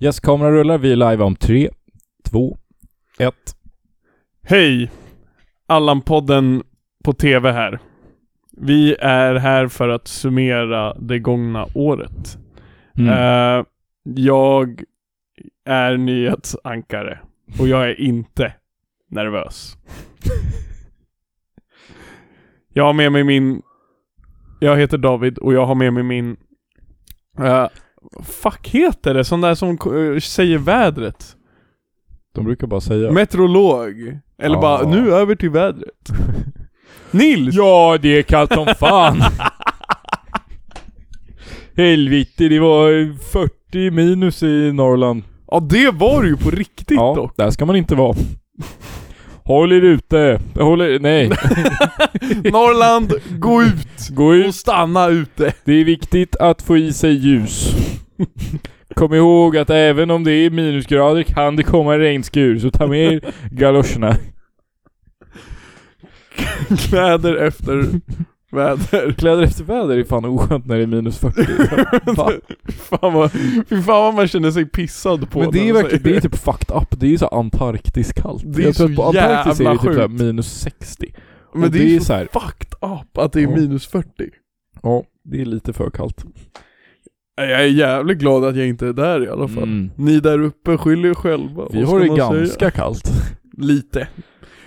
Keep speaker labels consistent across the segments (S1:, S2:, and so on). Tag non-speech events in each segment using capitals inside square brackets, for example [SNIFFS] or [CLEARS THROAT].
S1: Yes, kameran rullar. Vi är live om tre, två, ett.
S2: Hej! Allan-podden på TV här. Vi är här för att summera det gångna året.
S1: Mm.
S2: Eh, jag är nyhetsankare och jag är inte nervös. jag har med mig min... Jag heter David och jag har med mig min... eh, fuck heter det? Sån där som eh, säger vädret.
S1: De brukar bara säga...
S2: Meteorolog. Eller
S1: Ja.
S2: bara, nu över
S1: [LAUGHS]
S2: till vädret. Nils!
S1: Ja, det är kallt som fan! [LAUGHS] Helvete, det var 40 minus i Norrland.
S2: Ja det var det ju på riktigt dock.
S1: där ska man inte vara. Håll er ute. Håll er... [LAUGHS] Nej.
S2: Norrland, gå ut
S1: Gå ut.
S2: och stanna ute.
S1: Det är viktigt att få i sig ljus. Kom ihåg att även om det är minusgrader kan det komma regnskur, så ta med er galoscherna.
S2: Kläder efter väder.
S1: Kläder efter väder är fan oskönt när det är minus 40. [LAUGHS] Va?
S2: fan vad, fy fan vad man känner sig pissad på
S1: Men
S2: när
S1: det är
S2: man
S1: verkligen,
S2: säger
S1: det är typ fucked up. Det är ju så Antarktis kallt.
S2: Det är
S1: Jag tror att
S2: så
S1: på Antarktis är det
S2: jävla
S1: typ såhär
S2: sjukt.
S1: minus 60.
S2: Men det, är ju så,
S1: så här-
S2: fucked up att det är
S1: Ja.
S2: minus 40.
S1: Ja, det är lite för kallt.
S2: Jag är jävligt glad att jag inte är där i alla fall.
S1: Mm.
S2: Ni där uppe skyller er själva.
S1: Vi
S2: Vad
S1: har det
S2: ska man säga?
S1: ganska kallt.
S2: Lite.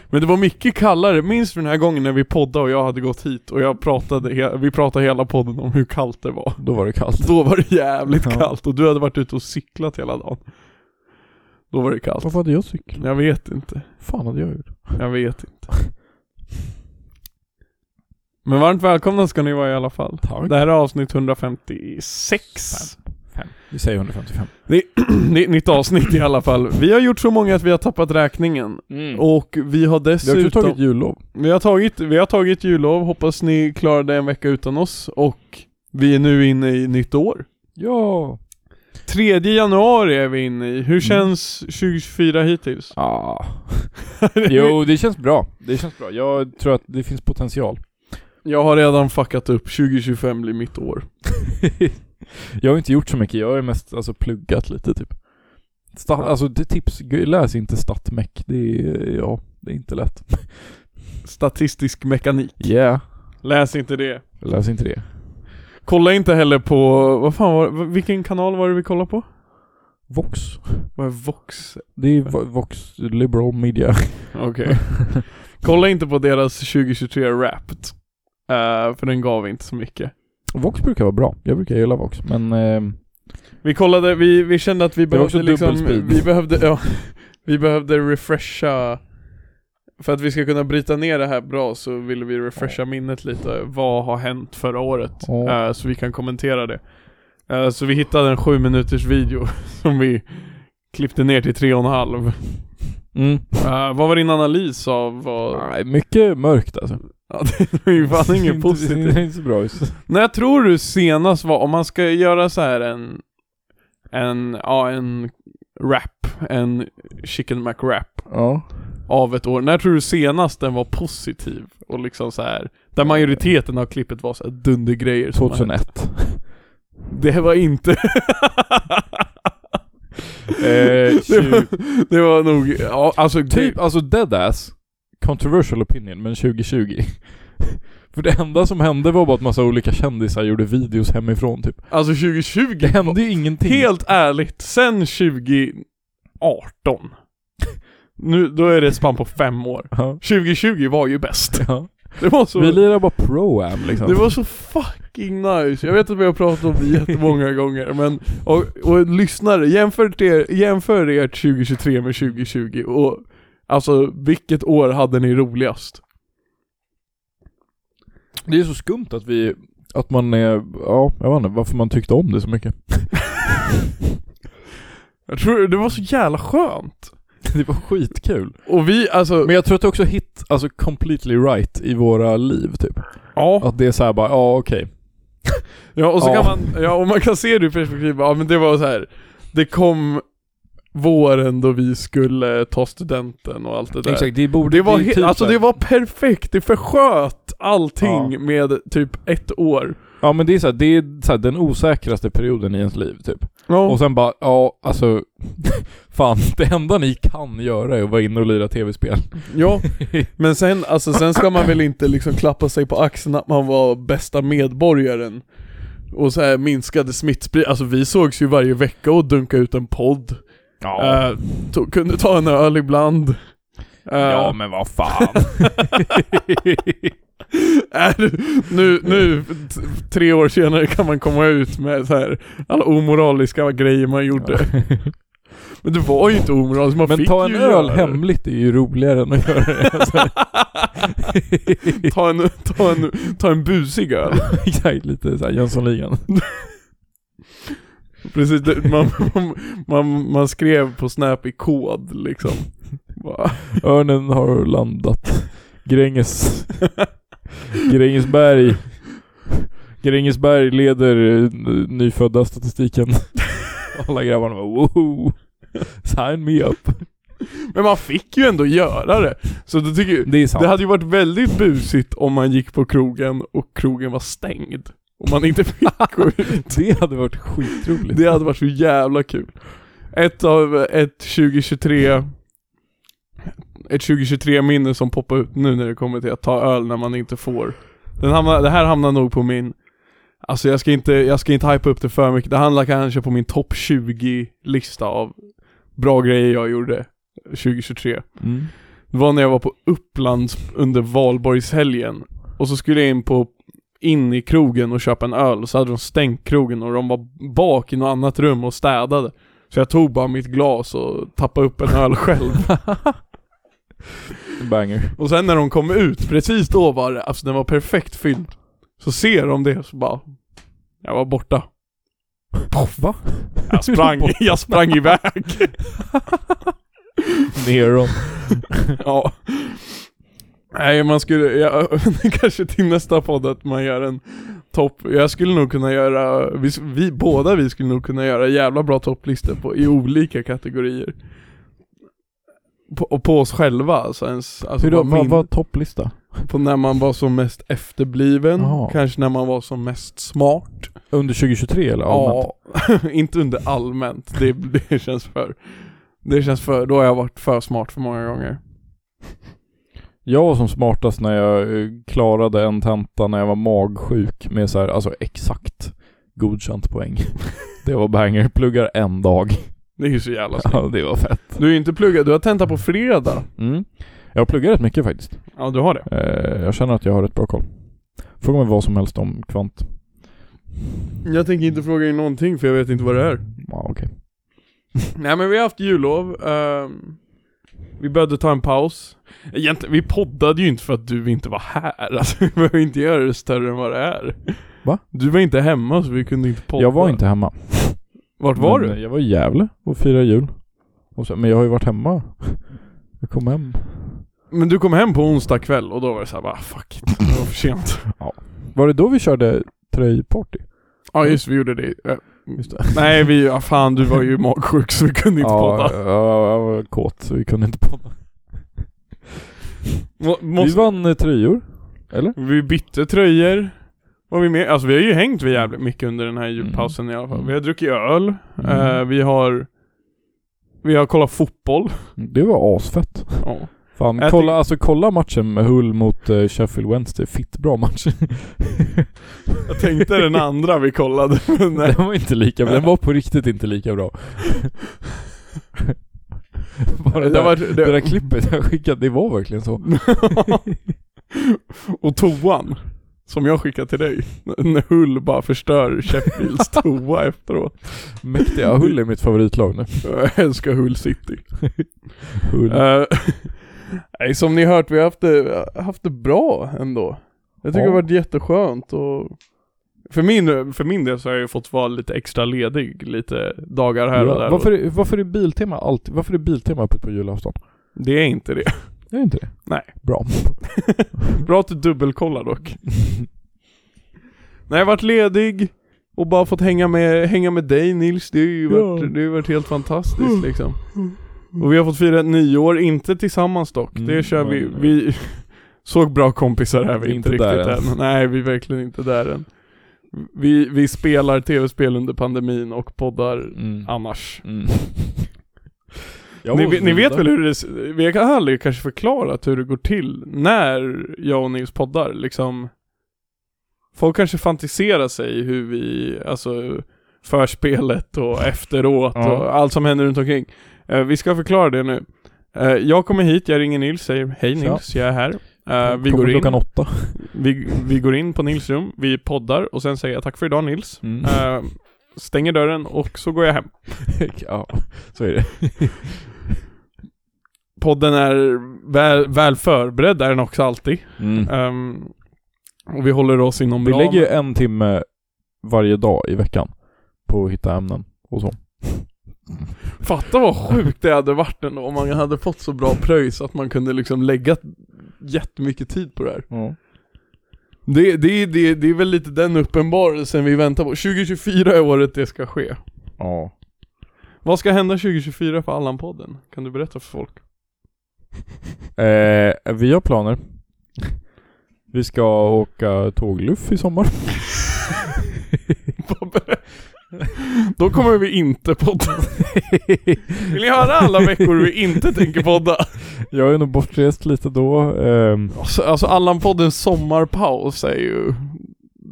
S2: Men det var mycket kallare, minns du den här gången när vi poddade och jag hade gått hit och jag pratade, he- vi pratade hela podden om hur kallt det var. [LAUGHS]
S1: Då var det kallt.
S2: Då var det jävligt
S1: Ja.
S2: kallt och du hade varit ute och cyklat hela dagen. Då var det kallt.
S1: Varför hade jag cykel?
S2: Jag vet inte,
S1: fan hade jag gjort?
S2: jag vet inte. Men varmt välkomna ska ni vara i alla fall.
S1: Tack.
S2: Det här är avsnitt [CLEARS THROAT] 156.
S1: Vi säger 155.
S2: Det är, det är ett nytt avsnitt i alla fall. Vi har gjort så många att vi har tappat räkningen.
S1: Och
S2: Och vi har
S1: Mm. vi har
S2: dessutom...
S1: också tagit jullov.
S2: Vi har tagit, vi har tagit jullov, hoppas ni klarade en vecka utan oss och vi är nu inne i nytt år.
S1: Ja.
S2: 3 januari är vi inne i, hur känns 2024 hittills?
S1: Ah.
S2: [LAUGHS]
S1: Jo, det känns bra. Det känns bra. Jag tror att det finns potential.
S2: Jag har redan fuckat upp, 2025 blir mitt år.
S1: jag har inte gjort så mycket. Jag har ju mest alltså, pluggat lite typ. Stat, Alltså det tips, läs inte statmek. Det är, ja, det är inte lätt.
S2: Statistisk mekanik.
S1: Yeah.
S2: Läs inte det.
S1: Läs inte det.
S2: Kolla inte heller på, vad fan var v- vilken kanal var det vi kollade på?
S1: Vox.
S2: Vad är Vox?
S1: Det är Vo- Vox Liberal Media.
S2: Okej. Kolla inte på deras 2023 Wrapped. Eh, för den gav inte så mycket.
S1: Vox brukar vara bra. Jag brukar gilla Vox, men... Eh,
S2: Vi kollade, vi, vi kände att vi
S1: Det var också
S2: behövde liksom,
S1: dubbelspeed.
S2: vi behövde, ja, [LAUGHS] vi behövde refresha För att vi ska kunna bryta ner det här bra så ville vi refresha minnet lite, vad har hänt förra året?
S1: Ja.
S2: Eh, så vi kan kommentera det Eh, Så vi hittade en sju minuters video [LAUGHS] som vi klippte ner till tre och en halv
S1: mm.
S2: Eh, Vad var din analys av vad... [LAUGHS]
S1: Nej, mycket mörkt alltså.
S2: Ja, det var ju fan
S1: [LAUGHS] Det är
S2: inget
S1: inte- Det
S2: positivt
S1: ser inte så bra ut.
S2: När tror du senast var, om man ska göra så här en, en, ja en rap, en chicken mac rap
S1: Ja.
S2: av ett år, när tror du senast den var positiv? Och liksom så här där majoriteten av klippet var så här dundergrejer som har hänt.
S1: 2001.
S2: Det var inte
S1: Eh,
S2: det, var, det var nog, ja alltså
S1: Typ, alltså deadass, controversial opinion, men 2020. [LAUGHS] För det enda som hände var bara att massa olika kändisar gjorde videos hemifrån typ.
S2: alltså 2020
S1: Det hände ju ingenting.
S2: Helt ärligt, sen 2018 Nu, då är det ett spann på fem år
S1: Ja.
S2: 2020 var ju bäst
S1: ja.
S2: Det var så
S1: Vi lirar bara pro-am liksom.
S2: Det var så fucking nice, jag vet att vi har pratat om det
S1: [LAUGHS]
S2: jättemånga gånger men Och, och lyssnare, jämför, er, jämför ert 2023 med 2020 och Alltså vilket år hade ni roligast?
S1: Det är så skumt att vi, att man, eh, ja, jag vet inte varför man tyckte om det så mycket.
S2: Jag tror det var så jävla skönt
S1: [LAUGHS] Det var skitkul.
S2: Och vi alltså,
S1: Men jag tror att det också hit, alltså completely right i våra liv typ.
S2: ja,
S1: Att det är såhär bara, ja okej.
S2: ja och så
S1: Ja.
S2: kan man, ja och man kan se det ur perspektiv, ja men det var så här. Det kom våren då vi skulle ta studenten och allt det där
S1: det borde
S2: Det var, he-
S1: typ
S2: alltså
S1: så här-
S2: det var perfekt, det försköt allting
S1: Ja.
S2: med typ ett år.
S1: Ja men det är så här, det är så här, den osäkraste perioden i ens liv typ.
S2: Ja.
S1: Och sen bara, ja alltså, [LAUGHS] fan det enda ni kan göra är att vara inne och lira tv-spel. [LAUGHS]
S2: Ja, men sen, alltså, sen ska man väl inte liksom klappa sig på axeln att man var bästa medborgaren och så här minskade smittspridning, alltså vi sågs ju varje vecka och dunkade ut en podd Eh, to- Kunde ta en öl ibland Eh,
S1: ja men vad
S2: [LAUGHS]
S1: fan.
S2: är du- Äh, nu, nu, t- tre år senare kan man komma ut med så här alla omoraliska grejer man gjorde Men det var ju inte omoraliskt, man
S1: Men
S2: fick
S1: ta en
S2: ju
S1: öl
S2: göra det.
S1: hemligt är ju roligare än att göra det. Alltså,
S2: [LAUGHS] ta, en, ta, en, ta en busig öl
S1: exakt, lite såhär Jönssonligan.
S2: Precis, det, man, man, man, man skrev på Snap i kod liksom. Bara,
S1: Örnen har landat.
S2: [LAUGHS]
S1: Gränges. Grängesberg. Grängesberg leder eh, n- nyfödda statistiken.
S2: [LAUGHS]
S1: Alla grabbarna bara wow. Sign me up.
S2: Men man fick ju ändå göra det. Så då tycker jag,
S1: Det är sant.
S2: det hade ju varit väldigt busigt om man gick på krogen och krogen var stängd. Om man inte fick gå ut.
S1: Det hade varit skitroligt.
S2: Det hade varit så jävla kul. Ett av, ett 2023 ett 2023-minne som poppar ut nu när det kommer till att ta öl när man inte får. Den hamnar, det här hamnar nog på min, alltså jag ska inte, jag ska inte hypa upp det för mycket. Det handlar kanske på min topp 20-lista av bra grejer jag gjorde 2023.
S1: Mm.
S2: Det var när jag var på Uppland under valborgshelgen och så skulle jag in på in i krogen och köpa en öl och så hade de stängt krogen och de var bak i något annat rum och städade. Så jag tog bara mitt glas och tappade upp en öl själv.
S1: Banger.
S2: Och sen när de kom ut, precis då var det, alltså den var perfekt fylld. Så ser de det så bara, jag var borta.
S1: Va?
S2: Jag sprang, jag sprang iväg.
S1: Neron.
S2: Ja. Nej man skulle, jag, [LAUGHS] kanske till nästa podd att man gör en topp, jag skulle nog kunna göra, vi, vi båda vi skulle nog kunna göra jävla bra topplistor på, i olika kategorier. På, och på oss själva alltså, ens, alltså
S1: Hur då?
S2: vad
S1: Vad
S2: min-
S1: var topplista?
S2: på när man var som mest efterbliven,
S1: Jaha.
S2: kanske när man var som mest smart.
S1: Under 2023 eller allmänt?
S2: Ja, [LAUGHS] inte under allmänt, det, det känns för, det känns för, då har jag varit för smart för många
S1: [LAUGHS]
S2: gånger.
S1: Jag var som smartast när jag eh, klarade en tenta när jag var magsjuk med så här, alltså exakt godkänt poäng. Det var banger, pluggar en dag.
S2: Det är ju så jävla snyggt.
S1: Ja, det var fett.
S2: Du är inte pluggat, du har tenta på fredag.
S1: Mm. Jag pluggar rätt mycket faktiskt.
S2: Ja du har det.
S1: Eh, jag känner att jag har rätt bra koll. Fråga mig vad som helst om kvant.
S2: Jag tänker inte fråga dig någonting för jag vet inte vad det är.
S1: Ja, okej.
S2: Nej men vi har haft jullov, ehm, vi behövde ta en paus. Egentligen, vi poddade ju inte för att du inte var här. [LAUGHS] Alltså, vi behöver inte göra det större än vad det är.
S1: Va?
S2: Du var inte hemma så vi kunde inte podda.
S1: Jag var inte hemma.
S2: Vart var
S1: Men,
S2: du?
S1: eh, Jag var i Gävle och firade jul. Och så, men jag har ju varit hemma. Jag kom hem.
S2: Men du kom hem på onsdag kväll och då var det såhär bara fuck it, det var för [LAUGHS] sent.
S1: Var det då vi körde tröjparty?
S2: ja just vi gjorde det. Eh,
S1: Just det.
S2: Nej vi, ja, fan du var ju magsjuk så vi kunde inte
S1: ja,
S2: podda.
S1: ja, jag var kåt så vi kunde inte podda.
S2: Må- måste-
S1: Vi vann eh, tröjor.
S2: Vi bytte tröjor. Var vi med? Alltså vi har ju hängt vi jävligt mycket under den här julpausen i alla fall. Vi har druckit öl.
S1: Mm.
S2: Eh, vi har vi har kollat fotboll.
S1: Det var asfett.
S2: Ja.
S1: Fan,
S2: Jag
S1: kolla,
S2: tyck-
S1: alltså, kolla matchen med Hull mot eh, Sheffield Wednesday. Fitt bra match. [LAUGHS]
S2: Jag tänkte den andra vi kollade. men nej.
S1: Den var inte lika bra. Den var på riktigt inte lika bra. [LAUGHS] Bara det,
S2: Det
S1: där,
S2: var,
S1: det där
S2: det,
S1: klippet jag skickade, det var verkligen så.
S2: [LAUGHS] och toan. Som jag skickade till dig. När Hull bara
S1: [LAUGHS]
S2: förstör Sheffields toa efteråt.
S1: Mäktiga. Hull är mitt favoritlag nu.
S2: Jag älskar Hull City.
S1: Hull.
S2: Eh, [LAUGHS] Nej, som ni hört, vi har haft det, haft det bra ändå. Jag tycker
S1: Ja.
S2: det har varit jätteskönt och för min, för min del så har jag ju fått vara lite extra ledig lite dagar här och
S1: ja,
S2: där.
S1: varför, är, varför är Biltema alltid, varför är Biltema öppet på julafton?
S2: Det är inte det.
S1: Är det inte det?
S2: Nej.
S1: Bra.
S2: Bra att du dubbelkollar dock. Nej, jag har varit ledig och bara fått hänga med, hänga med dig Nils. Det har ju
S1: Ja.
S2: varit, det har ju varit helt fantastiskt liksom. Och vi har fått fira ett nyår, inte tillsammans dock.
S1: Mm,
S2: det kör vi, [LAUGHS]
S1: men-
S2: vi såg bra kompisar här, vi är inte,
S1: Inte
S2: riktigt
S1: där
S2: än.
S1: än.
S2: Nej, vi är verkligen inte där än. Vi, vi spelar tv-spel under pandemin och poddar
S1: Mm.
S2: annars.
S1: Mm. [LAUGHS] Jag
S2: Ni,
S1: var
S2: ve- ni vet
S1: vidare.
S2: väl hur det, s- vi har aldrig kanske förklarat hur det går till när jag och Nils poddar liksom Folk kanske fantiserar sig hur vi, alltså förspelet
S1: [LAUGHS]
S2: och efteråt
S1: Ja.
S2: och allt som händer runt omkring Eh, Vi ska förklara det nu Eh, Jag kommer hit, jag ringer Nils, säger hej
S1: Tja.
S2: Nils, jag är här Eh, vi,
S1: Kommer
S2: går
S1: klockan
S2: in,
S1: åtta.
S2: vi, vi går in på Nils rum, vi poddar och sen säger jag tack för idag Nils
S1: Mm.
S2: Eh, Stänger dörren och så går jag hem
S1: [LAUGHS] ja, så är det.
S2: podden är väl, väl förberedd är den också alltid.
S1: Mm.
S2: Ehm, och vi håller oss inom
S1: Vi
S2: ramen.
S1: lägger ju en timme varje dag i veckan på att hitta ämnen och så.
S2: Fatta vad sjukt det hade varit ändå om man hade fått så bra pröjs att man kunde liksom lägga jättemycket tid på det här. Det, det, det, det är väl lite den uppenbarelsen vi väntar på. 2024 är året det ska ske.
S1: Ja.
S2: Vad ska hända 2024 för Allan-podden? Kan du berätta för folk?
S1: Eh, vi har planer. Vi ska åka tågluff i sommar.
S2: [LAUGHS]
S1: [LAUGHS]
S2: Då kommer vi inte podda. Vill ni höra alla veckor vi inte tänker podda?
S1: Jag är nog bortrest lite då. ehm,
S2: Alltså, alltså Allan-poddens sommarpaus är ju...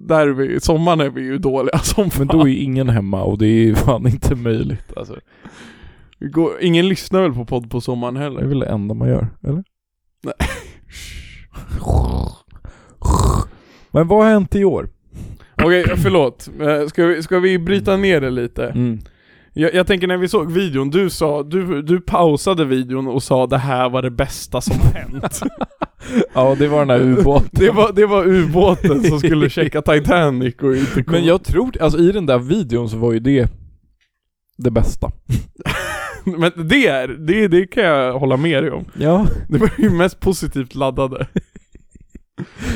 S2: Där är vi, sommaren är vi ju dåliga [LAUGHS] som
S1: men
S2: fan.
S1: då är ju ingen hemma och det är ju fan inte möjligt alltså.
S2: Vi går, ingen lyssnar väl på podd på sommaren
S1: Det är
S2: heller?
S1: väl det enda man gör, eller?
S2: Nej.
S1: Men vad har hänt i år? [CLEARS THROAT]
S2: Okej, förlåt. Eh, Ska vi, ska vi bryta ner det lite?
S1: Mm.
S2: Jag, jag tänker när vi såg videon, du sa, du, du pausade videon och sa det här var det
S1: [LAUGHS]
S2: bästa som hänt.
S1: Ja, det var den [LAUGHS] där ubåten.
S2: Det var, det var ubåten som
S1: [LAUGHS]
S2: skulle checka Titanic och inte kom.
S1: Men jag tror, alltså i den där videon så var ju det det bästa.
S2: [LAUGHS] Men det, är, det, det kan jag hålla med dig om.
S1: Ja.
S2: Det var ju mest positivt laddade.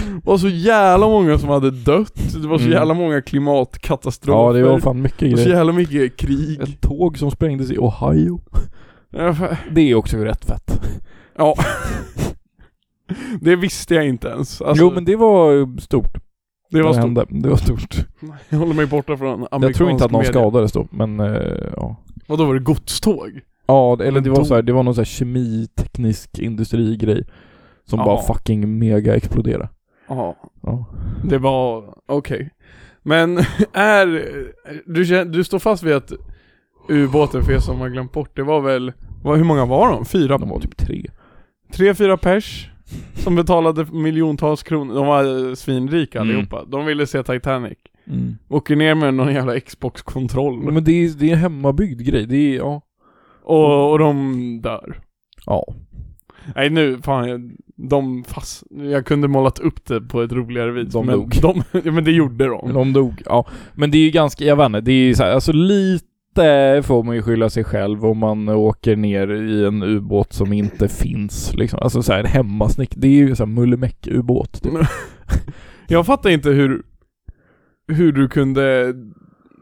S2: Det var så jävla många som hade dött, det var så
S1: Mm.
S2: jävla många klimatkatastrofer.
S1: Ja, det var fan mycket
S2: Och så
S1: grejer.
S2: jävla mycket krig.
S1: Ett tåg som sprängdes i Ohio.
S2: Ja, fa-
S1: Det är också rätt fett.
S2: Ja. Det visste jag inte ens. Alltså,
S1: jo, men det var stort.
S2: det var stort.
S1: hände. Det var stort.
S2: Jag håller mig borta från amerikansk
S1: Jag tror inte att någon
S2: media.
S1: skadades då, men eh, ja.
S2: Vadå var det godståg?
S1: Ja, det- eller
S2: Men
S1: det var
S2: då-
S1: så här, det var någon så här kemiteknisk industrigrej som
S2: Ja.
S1: bara fucking mega exploderade.
S2: Ja.
S1: Ja.
S2: Det var, okej. Men är, du, kän- du står fast vid att ubåten för er som har glömt bort, det var väl, vad, hur många var de? Fyra?
S1: De var typ tre.
S2: Tre, fyra pers som betalade miljontals kronor. De var eh, svinrika
S1: Mm.
S2: allihopa. De ville se Titanic. Åker ner med någon jävla Xbox-kontroll.
S1: Men det är, det är en hemmabyggd grej. Det är, ja.
S2: Och, och de dör.
S1: Ja.
S2: Nej nu, fan jag, de fast, jag kunde målat upp det på ett roligare vis.
S1: De
S2: men,
S1: dog.
S2: De, [LAUGHS] ja, men det gjorde de.
S1: Men de dog. Ja. Men det är ju ganska, jag vet inte, det är ju så här, alltså lite får man ju skylla sig själv om man åker ner i en ubåt som inte finns liksom. Alltså så här, en hemmasnick. Det är ju så här mullemäck-ubåt. typ.
S2: Jag fattar inte hur, hur du kunde,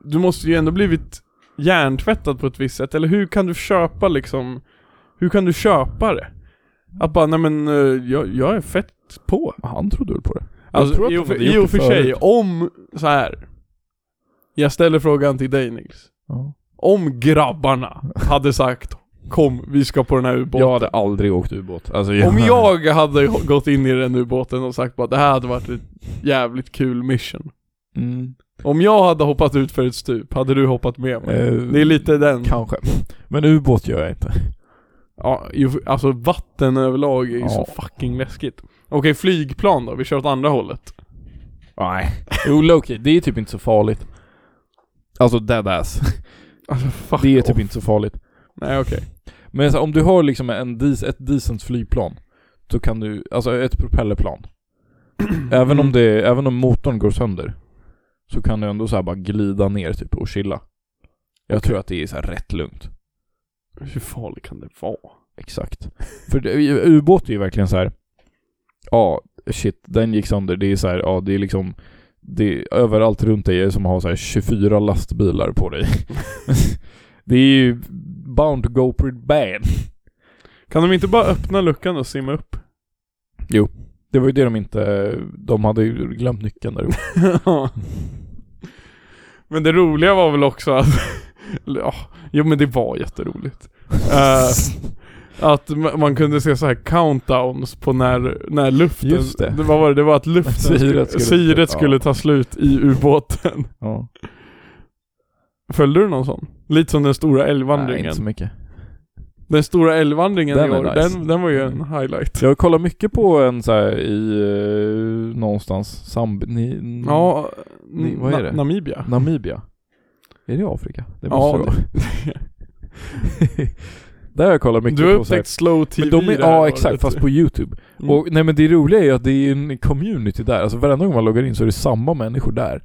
S2: du måste ju ändå blivit hjärntvättad på ett visst sätt, eller hur kan du köpa liksom, hur kan du köpa det? Att bara, nej men eh, jag, jag är fett på.
S1: Han trodde väl på det. Jag tror
S2: Alltså
S1: att
S2: i
S1: de
S2: och för,
S1: hade gjort
S2: i och för
S1: det
S2: sig,
S1: förut.
S2: om, så här. Jag ställer frågan till dig Nils.
S1: Ja.
S2: Om grabbarna hade sagt Kom, vi ska på den här ubåten.
S1: Jag hade aldrig åkt ubåt. Alltså, jag...
S2: Om jag hade gått in i den ubåten och sagt bara det här hade varit ett jävligt kul mission.
S1: Mm.
S2: Om jag hade hoppat ut för ett stup, hade du hoppat med mig?
S1: Eh,
S2: det är lite den.
S1: Kanske. Men ubåt gör jag inte.
S2: Ja, ju- alltså vatten överlag är ju
S1: Ja.
S2: så fucking läskigt. Okej, flygplan då? Vi kör åt andra hållet.
S1: Nej. Jo, Loki, det är typ inte så farligt. Alltså deadass.
S2: Alltså
S1: [LAUGHS]
S2: fuck
S1: Det är typ
S2: off.
S1: inte så farligt.
S2: Nej okej.
S1: Men så, här, om du har liksom en dis- ett decent flygplan, så kan du, alltså ett [CLEARS THROAT] propellerplan. även, om det, även om motorn går sönder, så kan du ändå så här bara glida ner typ och chilla. Jag tror att det är så här rätt lugnt.
S2: Hur farligt kan det vara?
S1: Exakt. För det, ubåt är ju verkligen så här. Ja, shit, den gick sönder. Det är så här, ja det är liksom det är överallt runt dig är det som har så här 24 lastbilar på dig. [LAUGHS] det är ju bound to go pretty bad.
S2: Kan de inte bara öppna luckan och simma upp? [LAUGHS]
S1: Det var ju det de inte, de hade ju glömt nyckeln där uppe.
S2: Men det roliga var väl också att, [LAUGHS] ja, jo men det
S1: [LAUGHS]
S2: var jätteroligt. Eh, att ma- man kunde se så här countdowns på när, när luften,
S1: Just det.
S2: vad var det, det var att luften,
S1: Syret
S2: syret,
S1: skulle-
S2: syret
S1: ja.
S2: skulle ta slut i ubåten. [LAUGHS]
S1: ja.
S2: Följde du någon sån? Lite som den stora
S1: Nej,
S2: älgvandringen.
S1: inte så mycket.
S2: den stora älgvandringen
S1: Den
S2: i
S1: är
S2: år,
S1: nice. Mm.
S2: den, den var ju en highlight.
S1: Jag kollar mycket på en så här i eh, någonstans Zamb... Ni, n-
S2: Ja,
S1: Mm. Ni- vad är
S2: Na-
S1: det?
S2: Namibia.
S1: Namibia. Är det Afrika? Det
S2: Ja.
S1: måste det. [LAUGHS] Där har jag kollat mycket
S2: Du har
S1: på så här-
S2: upptäckt slow tv
S1: men de är,
S2: det här
S1: Ja
S2: året.
S1: exakt, fast på youtube.
S2: Mm.
S1: Och nej men det roliga är ju att det är en community där, alltså varenda gång man loggar in så är det samma människor där.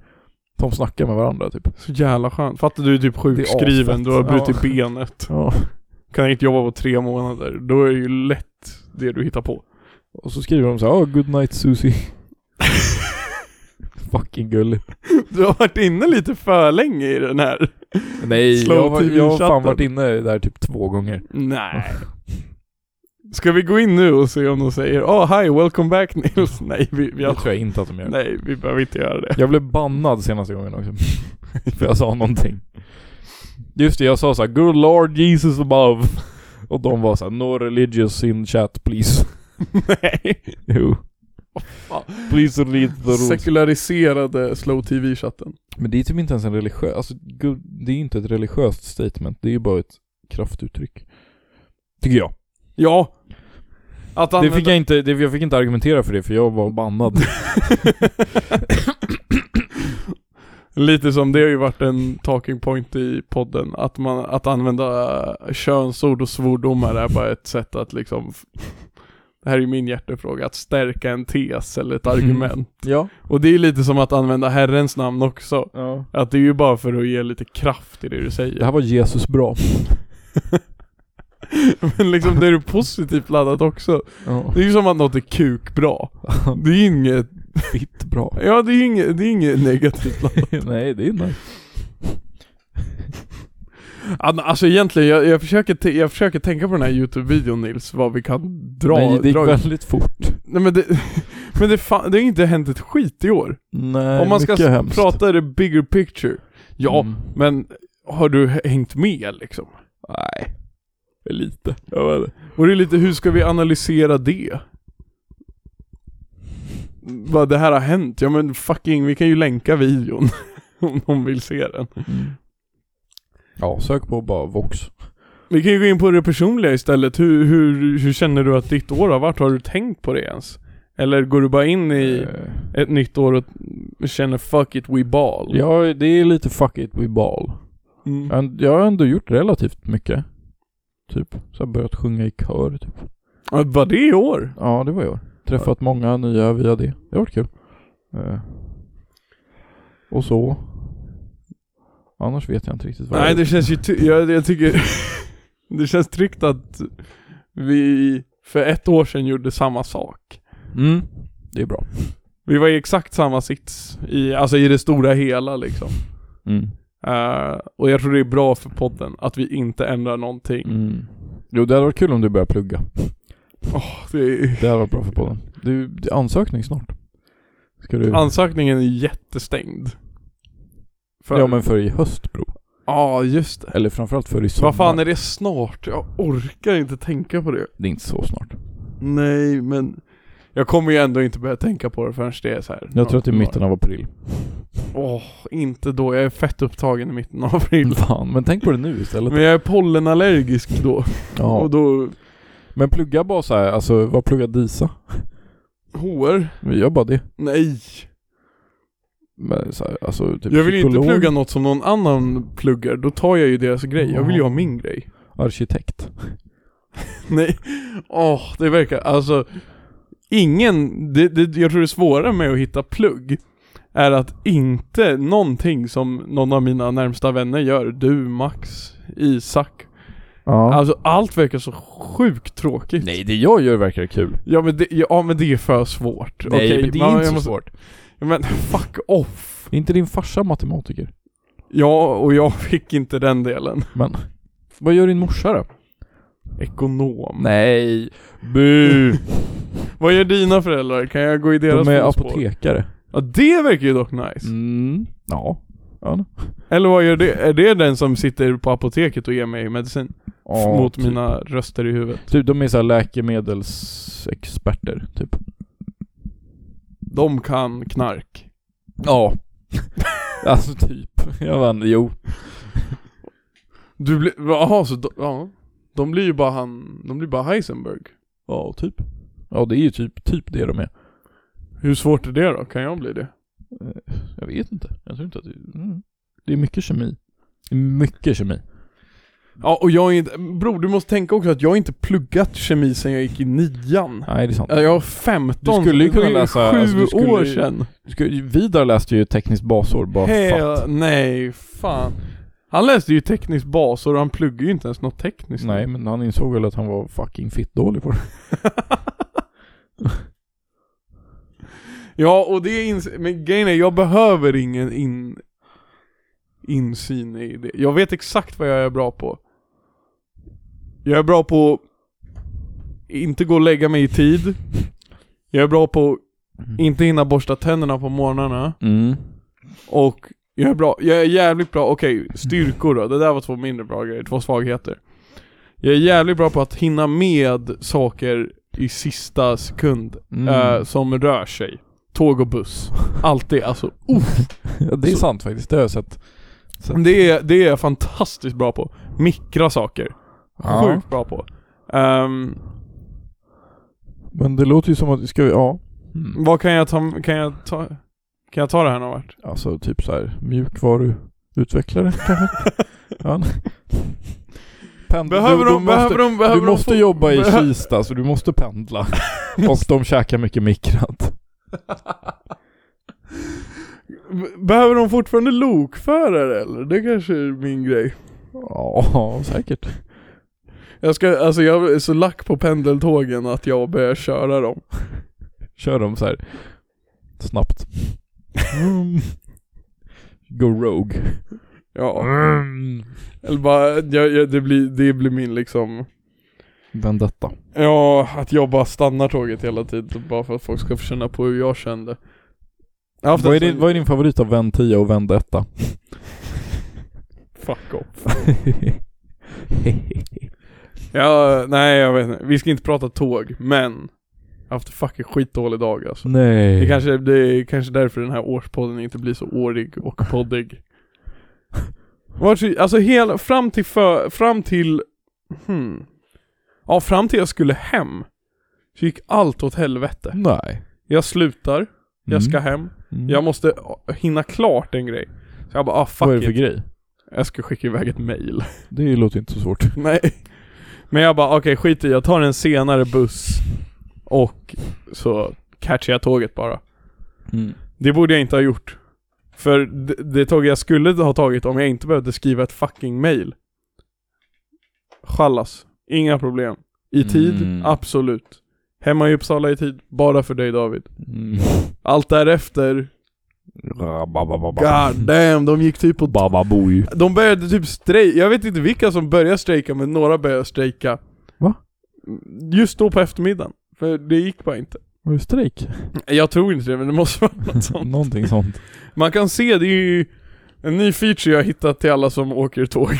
S1: De snackar med varandra typ.
S2: Så jävla skönt. Fattar du är typ sjukskriven,
S1: asfett.
S2: du har brutit
S1: Ja.
S2: benet.
S1: Ja.
S2: Kan inte jobba på tre månader. Då är det ju lätt det du
S1: [LAUGHS]
S2: hittar på.
S1: Och så skriver de så här, oh, good night Susie. [LAUGHS] Fucking gulligt.
S2: Du har varit inne lite för länge i den här.
S1: Nej,
S2: Slow
S1: jag, var- jag har fan
S2: TV-chatten.
S1: varit inne där typ två gånger.
S2: Nej. [LAUGHS] Ska vi gå in nu och se om de säger oh, hi, welcome back Nils? [LAUGHS] Nej, vi, vi,
S1: Det tror jag inte att de gör.
S2: nej, vi behöver inte göra det. [LAUGHS]
S1: Jag blev bannad senaste gången [LAUGHS] också. För jag sa någonting. Just det, jag sa så här, Good Lord Jesus above. Och de var så här, No religious in chat please.
S2: nej.
S1: [LAUGHS] Jo.
S2: fan.
S1: Please read the rules.
S2: Sekulariserade slow tv-chatten.
S1: Men det är typ inte ens en religiös, alltså gud, det är ju inte ett religiöst statement, det är ju bara ett kraftuttryck. Tycker jag.
S2: Ja. Att
S1: Det fick jag, inte, det, jag fick inte argumentera för det för jag var bannad.
S2: [LAUGHS] Lite som det har ju varit en talking point i podden, att, man, att använda eh, könsord och svordomar är bara ett sätt att liksom Det här är ju min hjärtefråga, att stärka en tes eller ett argument.
S1: ja.
S2: Och det är ju lite som att använda Herrens namn också.
S1: [LAUGHS] ja.
S2: Att det är ju bara för att ge lite kraft i det du
S1: Det
S2: säger.
S1: här var Jesus bra.
S2: [LAUGHS] Men liksom det är ju positivt laddat också.
S1: Ja.
S2: Det är ju som att något är kukbra. Det är ju inget,
S1: Fitt bra.
S2: ja det är ju inget, det är inget negativt
S1: [LAUGHS]
S2: laddat.
S1: Nej, det är nice.
S2: Ann- Alltså egentligen, jag, jag, försöker te- jag försöker tänka på den här youtube-videon Nils, vad vi kan dra,
S1: Nej, det gick
S2: dra ut.
S1: väldigt fort.
S2: Nej men det, [LAUGHS] men det, fa- det har inte hänt ett skit i år.
S1: Nej,
S2: Om man ska
S1: mycket
S2: s-
S1: hemskt.
S2: prata det bigger picture. Ja,
S1: Mm.
S2: men har du h- hängt med liksom?
S1: Nej.
S2: Lite.
S1: Jag vet
S2: Och det är lite, hur ska vi analysera det? Vad det här har hänt? Ja men fucking, vi kan ju länka videon. [LAUGHS] om någon vill se den.
S1: mm. Ja, sök på bara Vox.
S2: Vi kan ju gå in på det personliga istället. Hur, hur, hur känner du att ditt år har varit? Har du tänkt på det ens? Eller går du bara in i
S1: Eh,
S2: ett nytt år och känner 'fuck it, we ball'?
S1: Ja, det är lite fuck it we ball.
S2: Mm.
S1: Men Jag har ändå gjort relativt mycket. Typ, så jag börjat sjunga i kör typ.
S2: Ja, Var det i år?
S1: Ja, det var jag. Träffat många nya via det. Det har varit kul. Eh. Och så. Annars vet jag inte riktigt vad
S2: Nej,
S1: jag
S2: det
S1: gjort.
S2: känns ju... Ty- jag, jag tycker... [LAUGHS] det känns tryggt att vi för ett år sedan gjorde samma sak.
S1: Mm, det är bra.
S2: Vi var i exakt samma sits, i, alltså i det stora hela liksom.
S1: Mm.
S2: Eh, och jag tror det är bra för podden att vi inte ändrar någonting.
S1: Mm. Jo, det hade varit kul om du började plugga.
S2: Det är...
S1: Det hade varit bra för podden. Du, det är ansökning snart. Ska du?
S2: Ansökningen är jättestängd. För...
S1: Ja, men för i höst bro.
S2: Ja, just det.
S1: Eller framförallt för i sommar.
S2: Vad fan är det snart? Jag orkar inte tänka på det.
S1: Det är inte så snart.
S2: Nej, men... Jag kommer ju ändå inte börja tänka på det förrän det är så här.
S1: Jag tror att det är mitten av april. [LAUGHS]
S2: Åh, inte då. Jag är fett upptagen i mitten av april.
S1: Fan, men tänk på det nu istället.
S2: Men jag är pollenallergisk då.
S1: Ja.
S2: Och då...
S1: Men plugga bara så här, alltså vad pluggar Disa?
S2: HR?
S1: Vi gör bara det.
S2: Nej.
S1: Men så här, alltså typ
S2: jag vill ju inte
S1: psykolog,
S2: plugga något som någon annan pluggar. Då tar jag ju deras grej. Jag vill ju ha min grej.
S1: arkitekt.
S2: [LAUGHS] Nej, åh det verkar, alltså Ingen, det, det, jag tror det svåra med att hitta plugg Är att inte någonting som någon av mina närmsta vänner gör Du, Max, Isak
S1: Ja.
S2: Alltså allt verkar så sjukt tråkigt
S1: Nej, det jag gör verkar kul.
S2: Ja men det, ja, men det är för svårt Okej, man- jag måste-
S1: svårt.
S2: Ja, Men fuck off
S1: Är inte din farsa matematiker?
S2: Ja, och jag [LAUGHS] fick inte den delen
S1: Men, vad gör din morsa då?
S2: Ekonom
S1: Nej, bu!
S2: [LAUGHS] Vad gör dina föräldrar? Kan jag gå i deras
S1: De är
S2: fotspår?
S1: apotekare.
S2: Ja det verkar ju dock nice
S1: Mm, ja. Ja,
S2: Eller vad gör det? Är det den som sitter på apoteket och ger mig medicin? F-
S1: ja,
S2: Mot
S1: typ.
S2: mina röster i huvudet.
S1: Typ de är såhär läkemedelsexperter, typ.
S2: De kan knark.
S1: Ja. [LAUGHS] alltså typ. Jag vann, jo.
S2: Du blir, jaha så de, ja. De blir ju bara han, de blir bara Heisenberg.
S1: Ja, typ. Ja, det är ju typ, typ det de är. Eh,
S2: Hur svårt är det då? Kan jag bli det?
S1: Jag vet inte. Jag tror inte att det... Mm. Det är mycket kemi. Det är Mycket kemi.
S2: Ja och jag är inte, bror du måste tänka också att jag har inte pluggat kemi sen jag gick i nian.
S1: Nej, det är sant.
S2: Ja, Jag var 15,
S1: Du skulle ju
S2: så det var
S1: kunna läsa-
S2: sju
S1: alltså, du skulle
S2: år
S1: ju-
S2: sedan.
S1: Du ska- Vidar läste ju tekniskt basår bara för
S2: Hell,
S1: fatt.
S2: nej, fan. Han läste ju teknisk bas och han pluggade ju inte ens något tekniskt.
S1: Nej, men han insåg väl att han var fucking fitt dålig på det.
S2: Ja, och det är ins- men grejen är, jag behöver ingen in- insyn i det. Jag vet exakt vad jag är bra på. Jag är bra på att inte gå och lägga mig i tid. Jag är bra på att inte hinna borsta tänderna på morgnarna.
S1: Mm.
S2: Och jag är bra, jag är jävligt bra, okej, styrkor då. Det där var två mindre bra grejer, två svagheter. Jag är jävligt bra på att hinna med saker i sista sekund
S1: Mm.
S2: eh, som rör sig. Tåg
S1: [LAUGHS]
S2: och buss. Alltid, alltså.
S1: Ja, det är
S2: så-
S1: sant faktiskt. Det har jag sett.
S2: Det är, det är jag fantastiskt bra på. Mikra saker.
S1: Ja.
S2: Sjukt bra på. Ehm,
S1: Men det låter ju som att, ska vi, ja. Mm.
S2: vad kan jag ta, kan jag ta, kan jag ta det här någon vart?
S1: Alltså typ så här mjukvaruutvecklare
S2: [LAUGHS]
S1: kanske? ja. Pendla.
S2: Behöver
S1: du, du
S2: de, behöver
S1: måste,
S2: de, behöver
S1: du måste
S2: de få-
S1: jobba i
S2: behö-
S1: Kista så du måste
S2: [LAUGHS]
S1: pendla. Och de käkar mycket mikrat.
S2: Behöver de fortfarande lokförare eller? Det kanske är min grej.
S1: Ja, säkert.
S2: Jag ska, alltså jag är så lack på pendeltågen att jag börjar köra dem.
S1: Kör dem så här
S2: [LAUGHS]
S1: snabbt. Mm. Go rogue.
S2: Ja.
S1: Mm.
S2: Eller bara, jag, jag, det, blir, det blir min liksom
S1: Vendetta.
S2: Ja, att jag bara stannar tåget hela tiden bara för att folk ska få känna på hur jag kände. Jag har haft
S1: Vad är,
S2: en
S1: din,
S2: sån-
S1: vad är din favorit av Vän 10 och
S2: [LAUGHS]
S1: Vendetta?
S2: Fuck off. Ja, nej jag vet inte. Vi ska inte prata tåg, men jag har haft en fucking skitdålig dag alltså.
S1: Nej.
S2: Det kanske, det är kanske därför den här årspodden inte blir så årig och [LAUGHS] poddig. Vart så- Alltså hela, fram till för, fram till, hmm. Ja, fram till jag skulle hem. Så gick allt åt helvete.
S1: Nej.
S2: Jag slutar, jag ska hem,
S1: Mm.
S2: jag måste hinna klart en grej. Så jag bara, ah
S1: Vad är
S2: fuck
S1: det för
S2: it.
S1: grej?
S2: Jag ska skicka iväg ett mail. [LAUGHS]
S1: Det låter inte så svårt.
S2: Nej. Men jag bara, okej skit i, jag tar en senare buss. Och så catchar jag tåget bara.
S1: Mm.
S2: Det borde jag inte ha gjort. För det, det tåg jag skulle ha tagit om jag inte behövde skriva ett fucking mail. Challas. Inga problem. I tid,
S1: Mm.
S2: absolut. Hemma i Uppsala i tid, bara för dig David.
S1: Mm.
S2: Allt därefter, god damn, de gick typ på...
S1: Bababoy.
S2: De började typ strejka, jag vet inte vilka som började strejka men några började strejka.
S1: Va?
S2: Just då på eftermiddagen. För det gick bara inte.
S1: Var det strejk?
S2: [LAUGHS] Jag tror inte det men det måste vara [LAUGHS] något sånt.
S1: Någonting sånt.
S2: Man kan se, det är ju en ny feature jag har hittat till alla som åker tåg. [LAUGHS]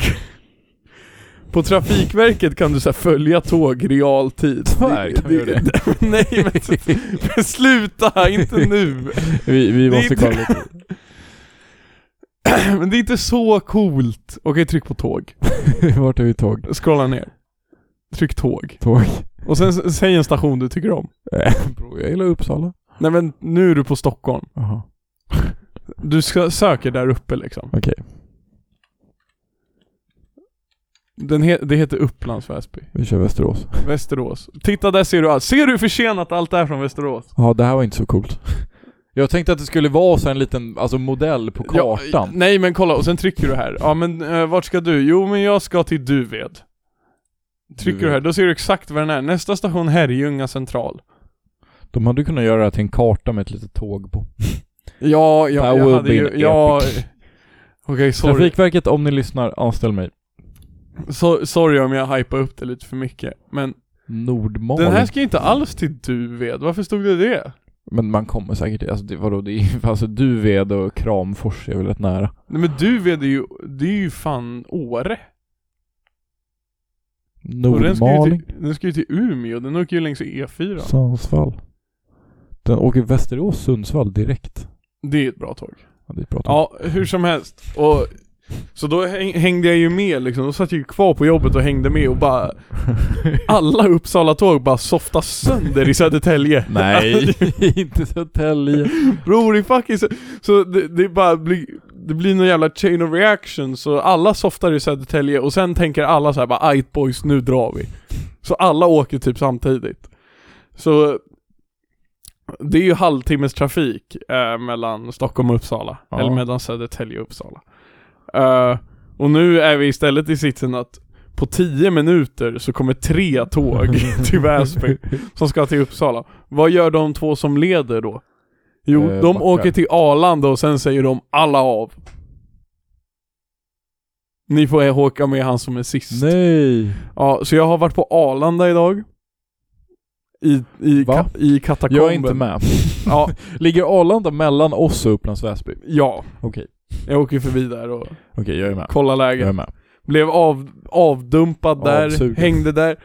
S2: På Trafikverket kan du så här följa tåg realtid.
S1: Tyvärr kan vi göra det.
S2: [LAUGHS] Nej men, men [LAUGHS] sluta, inte nu.
S1: [LAUGHS] Vi, vi
S2: Det är
S1: måste
S2: inte-
S1: kolla lite.
S2: [LAUGHS] Men det är inte så coolt. Okej, tryck på tåg.
S1: [LAUGHS] Vart är vi tåg?
S2: Scrolla ner. Tryck tåg.
S1: Tåg.
S2: Och sen s- säg en station du tycker om.
S1: Bro, jag gillar Uppsala.
S2: Nej men nu är du på Stockholm.
S1: Jaha.
S2: Du ska, söker där uppe liksom.
S1: Okej.
S2: Den he, det heter Upplands Väsby.
S1: Vi kör Västerås.
S2: Västerås. Titta där ser du allt. Ser du hur försenat allt är från Västerås?
S1: Ja, det här var inte så coolt. Jag tänkte att det skulle vara så en liten alltså, modell på
S2: Ja,
S1: kartan.
S2: nej men kolla, och sen trycker du här. Ja men eh, vart ska du? Jo men jag ska till Duved. Trycker du här, då ser du exakt var den är. Nästa station Herrljunga central.
S1: De hade kunnat göra det här till en karta med ett litet tåg på.
S2: Ja,
S1: That
S2: ja
S1: would
S2: jag hade
S1: be
S2: ju,
S1: epic.
S2: ja... Okej, sorry.
S1: Trafikverket, om ni lyssnar, anställ mig.
S2: So, sorry om jag hypar upp det lite för mycket. Men
S1: Nordmal.
S2: den här ska ju inte alls till Duved, varför stod det det?
S1: Men man kommer säkert, alltså det, vadå, det är, [LAUGHS] alltså Duved och Kramfors är väl rätt nära?
S2: Nej men du vet det är ju, det är ju fan Åre. Och den ska, ju
S1: Nordmaling?
S2: till, den ska ju till Umeå, den åker ju längs E E4.
S1: Sundsvall? Den åker Västerås, Sundsvall direkt.
S2: Det är ett bra tåg.
S1: Ja, det är bra tåg.
S2: Ja, hur som helst. Och, så då häng- hängde jag ju med liksom, då satt jag ju kvar på jobbet och hängde med
S1: [LAUGHS]
S2: och bara Alla Uppsala-tåg bara softas sönder i Södertälje [LAUGHS]
S1: Nej,
S2: Alltså,
S1: [LAUGHS] inte Södertälje.
S2: Bror i fucking Sö- Så det, det bara blir, det blir någon jävla chain of reaction så alla softar i Södertälje och sen tänker alla så här bara "Ajt boys, nu drar vi Så alla åker typ samtidigt Så Det är ju halvtimmes trafik eh, mellan Stockholm och Uppsala,
S1: Ja.
S2: eller mellan Södertälje och Uppsala Eh, Och nu är vi istället i sitsen att på 10 minuter så kommer tre
S1: [LAUGHS]
S2: tåg till Väsby som ska till Uppsala. Vad gör de två som leder då? Jo,
S1: Eh,
S2: de
S1: backar.
S2: åker till Arlanda och sen säger de alla av. Ni får åka med han som är sist.
S1: Nej!
S2: Ja, så jag har varit på Arlanda idag. I, i,
S1: Va?
S2: ka, i katakomben.
S1: Jag är inte med.
S2: Ja,
S1: Ligger Arlanda mellan oss och Upplands Väsby?
S2: ja,
S1: Okej.
S2: jag åker förbi där och
S1: Okej, jag är med.
S2: kollar läget.
S1: Jag är med.
S2: Blev av, avdumpad där,
S1: Avsugen.
S2: hängde där.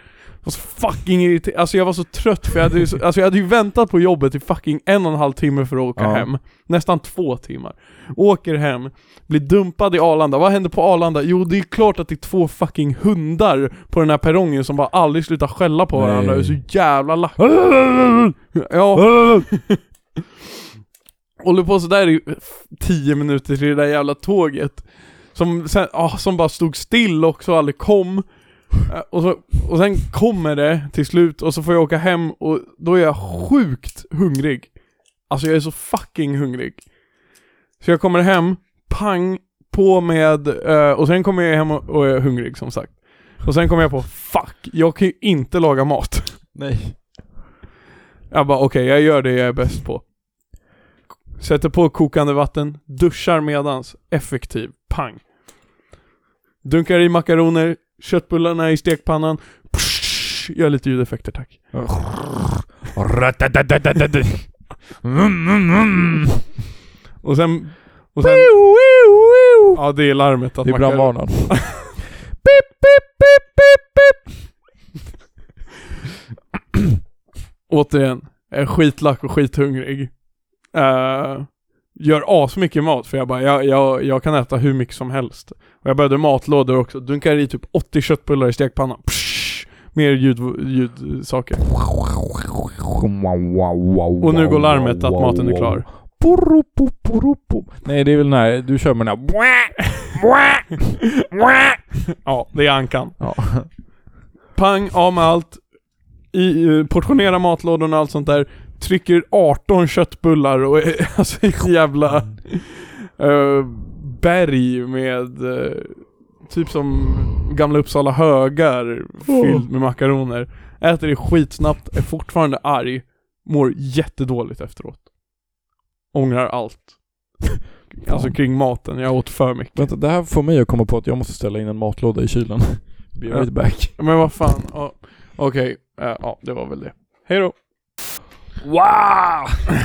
S2: Var så fucking irriterad. Alltså jag var så trött för jag hade ju, så, alltså jag hade ju väntat på jobbet i fucking en och en halv timme för att åka
S1: Ja.
S2: hem. Nästan två timmar. Åker hem, blir dumpad i Arlanda. Vad händer på Arlanda? Jo det är klart att det är två fucking hundar på den här perrongen som bara aldrig slutar skälla på varandra.
S1: Nej.
S2: Jag är så
S1: [SNIFFS]
S2: jävla lack. [LAUGHS] Ja. Håller på sådär i tio minuter till det där jävla tåget Som, sen, ah, som bara stod still också och aldrig kom Eh, och, så, och sen kommer det till slut och så får jag åka hem och då är jag sjukt hungrig Alltså jag är så fucking hungrig Så jag kommer hem, pang, på med, eh, och sen kommer jag hem och, och är hungrig som sagt Och sen kommer jag på, fuck, jag kan ju inte laga mat
S1: [LAUGHS] Nej.
S2: jag bara okej, jag gör det jag är bäst på. Sätter på kokande vatten, duschar medans, effektiv, pang. Dunkar i makaroner, köttbullarna i stekpannan, psh, gör lite ljudeffekter tack.
S1: Mm, mm, mm.
S2: Och sen... Och sen ja det är larmet att
S1: Det är
S2: makar-
S1: brandvarnaren.
S2: Återigen, jag är skitlack och skithungrig. Eh, gör asmycket mat för jag bara, jag, jag, jag kan äta hur mycket som helst. Och jag började matlådor också, dunkar i typ 80 köttbullar i stekpannan. Psh, mer ljud, ljudsaker. Och nu går larmet att maten är klar.
S1: Porupu, porupu. Nej, det är väl den här, du kör med den här...
S2: Ja, det är ankan.
S1: Ja.
S2: Pang, av med allt. I, eh, portionera matlådorna och allt sånt där. Trycker 18 köttbullar och [LAUGHS] alltså ett jävla eh, berg med eh, typ som Gamla Uppsala högar fylld med makaroner. Äter det skitsnabbt, är fortfarande arg, mår jättedåligt efteråt. Ångrar allt. Alltså kring maten, jag åt för mycket.
S1: Vänta, det här får mig att komma på att jag måste ställa in en matlåda i kylen. Be
S2: Ja.
S1: right back.
S2: Men vad fan, ja. okej, eh, ja det var väl det. Hej då.
S1: Wow!
S2: [CLEARS THROAT]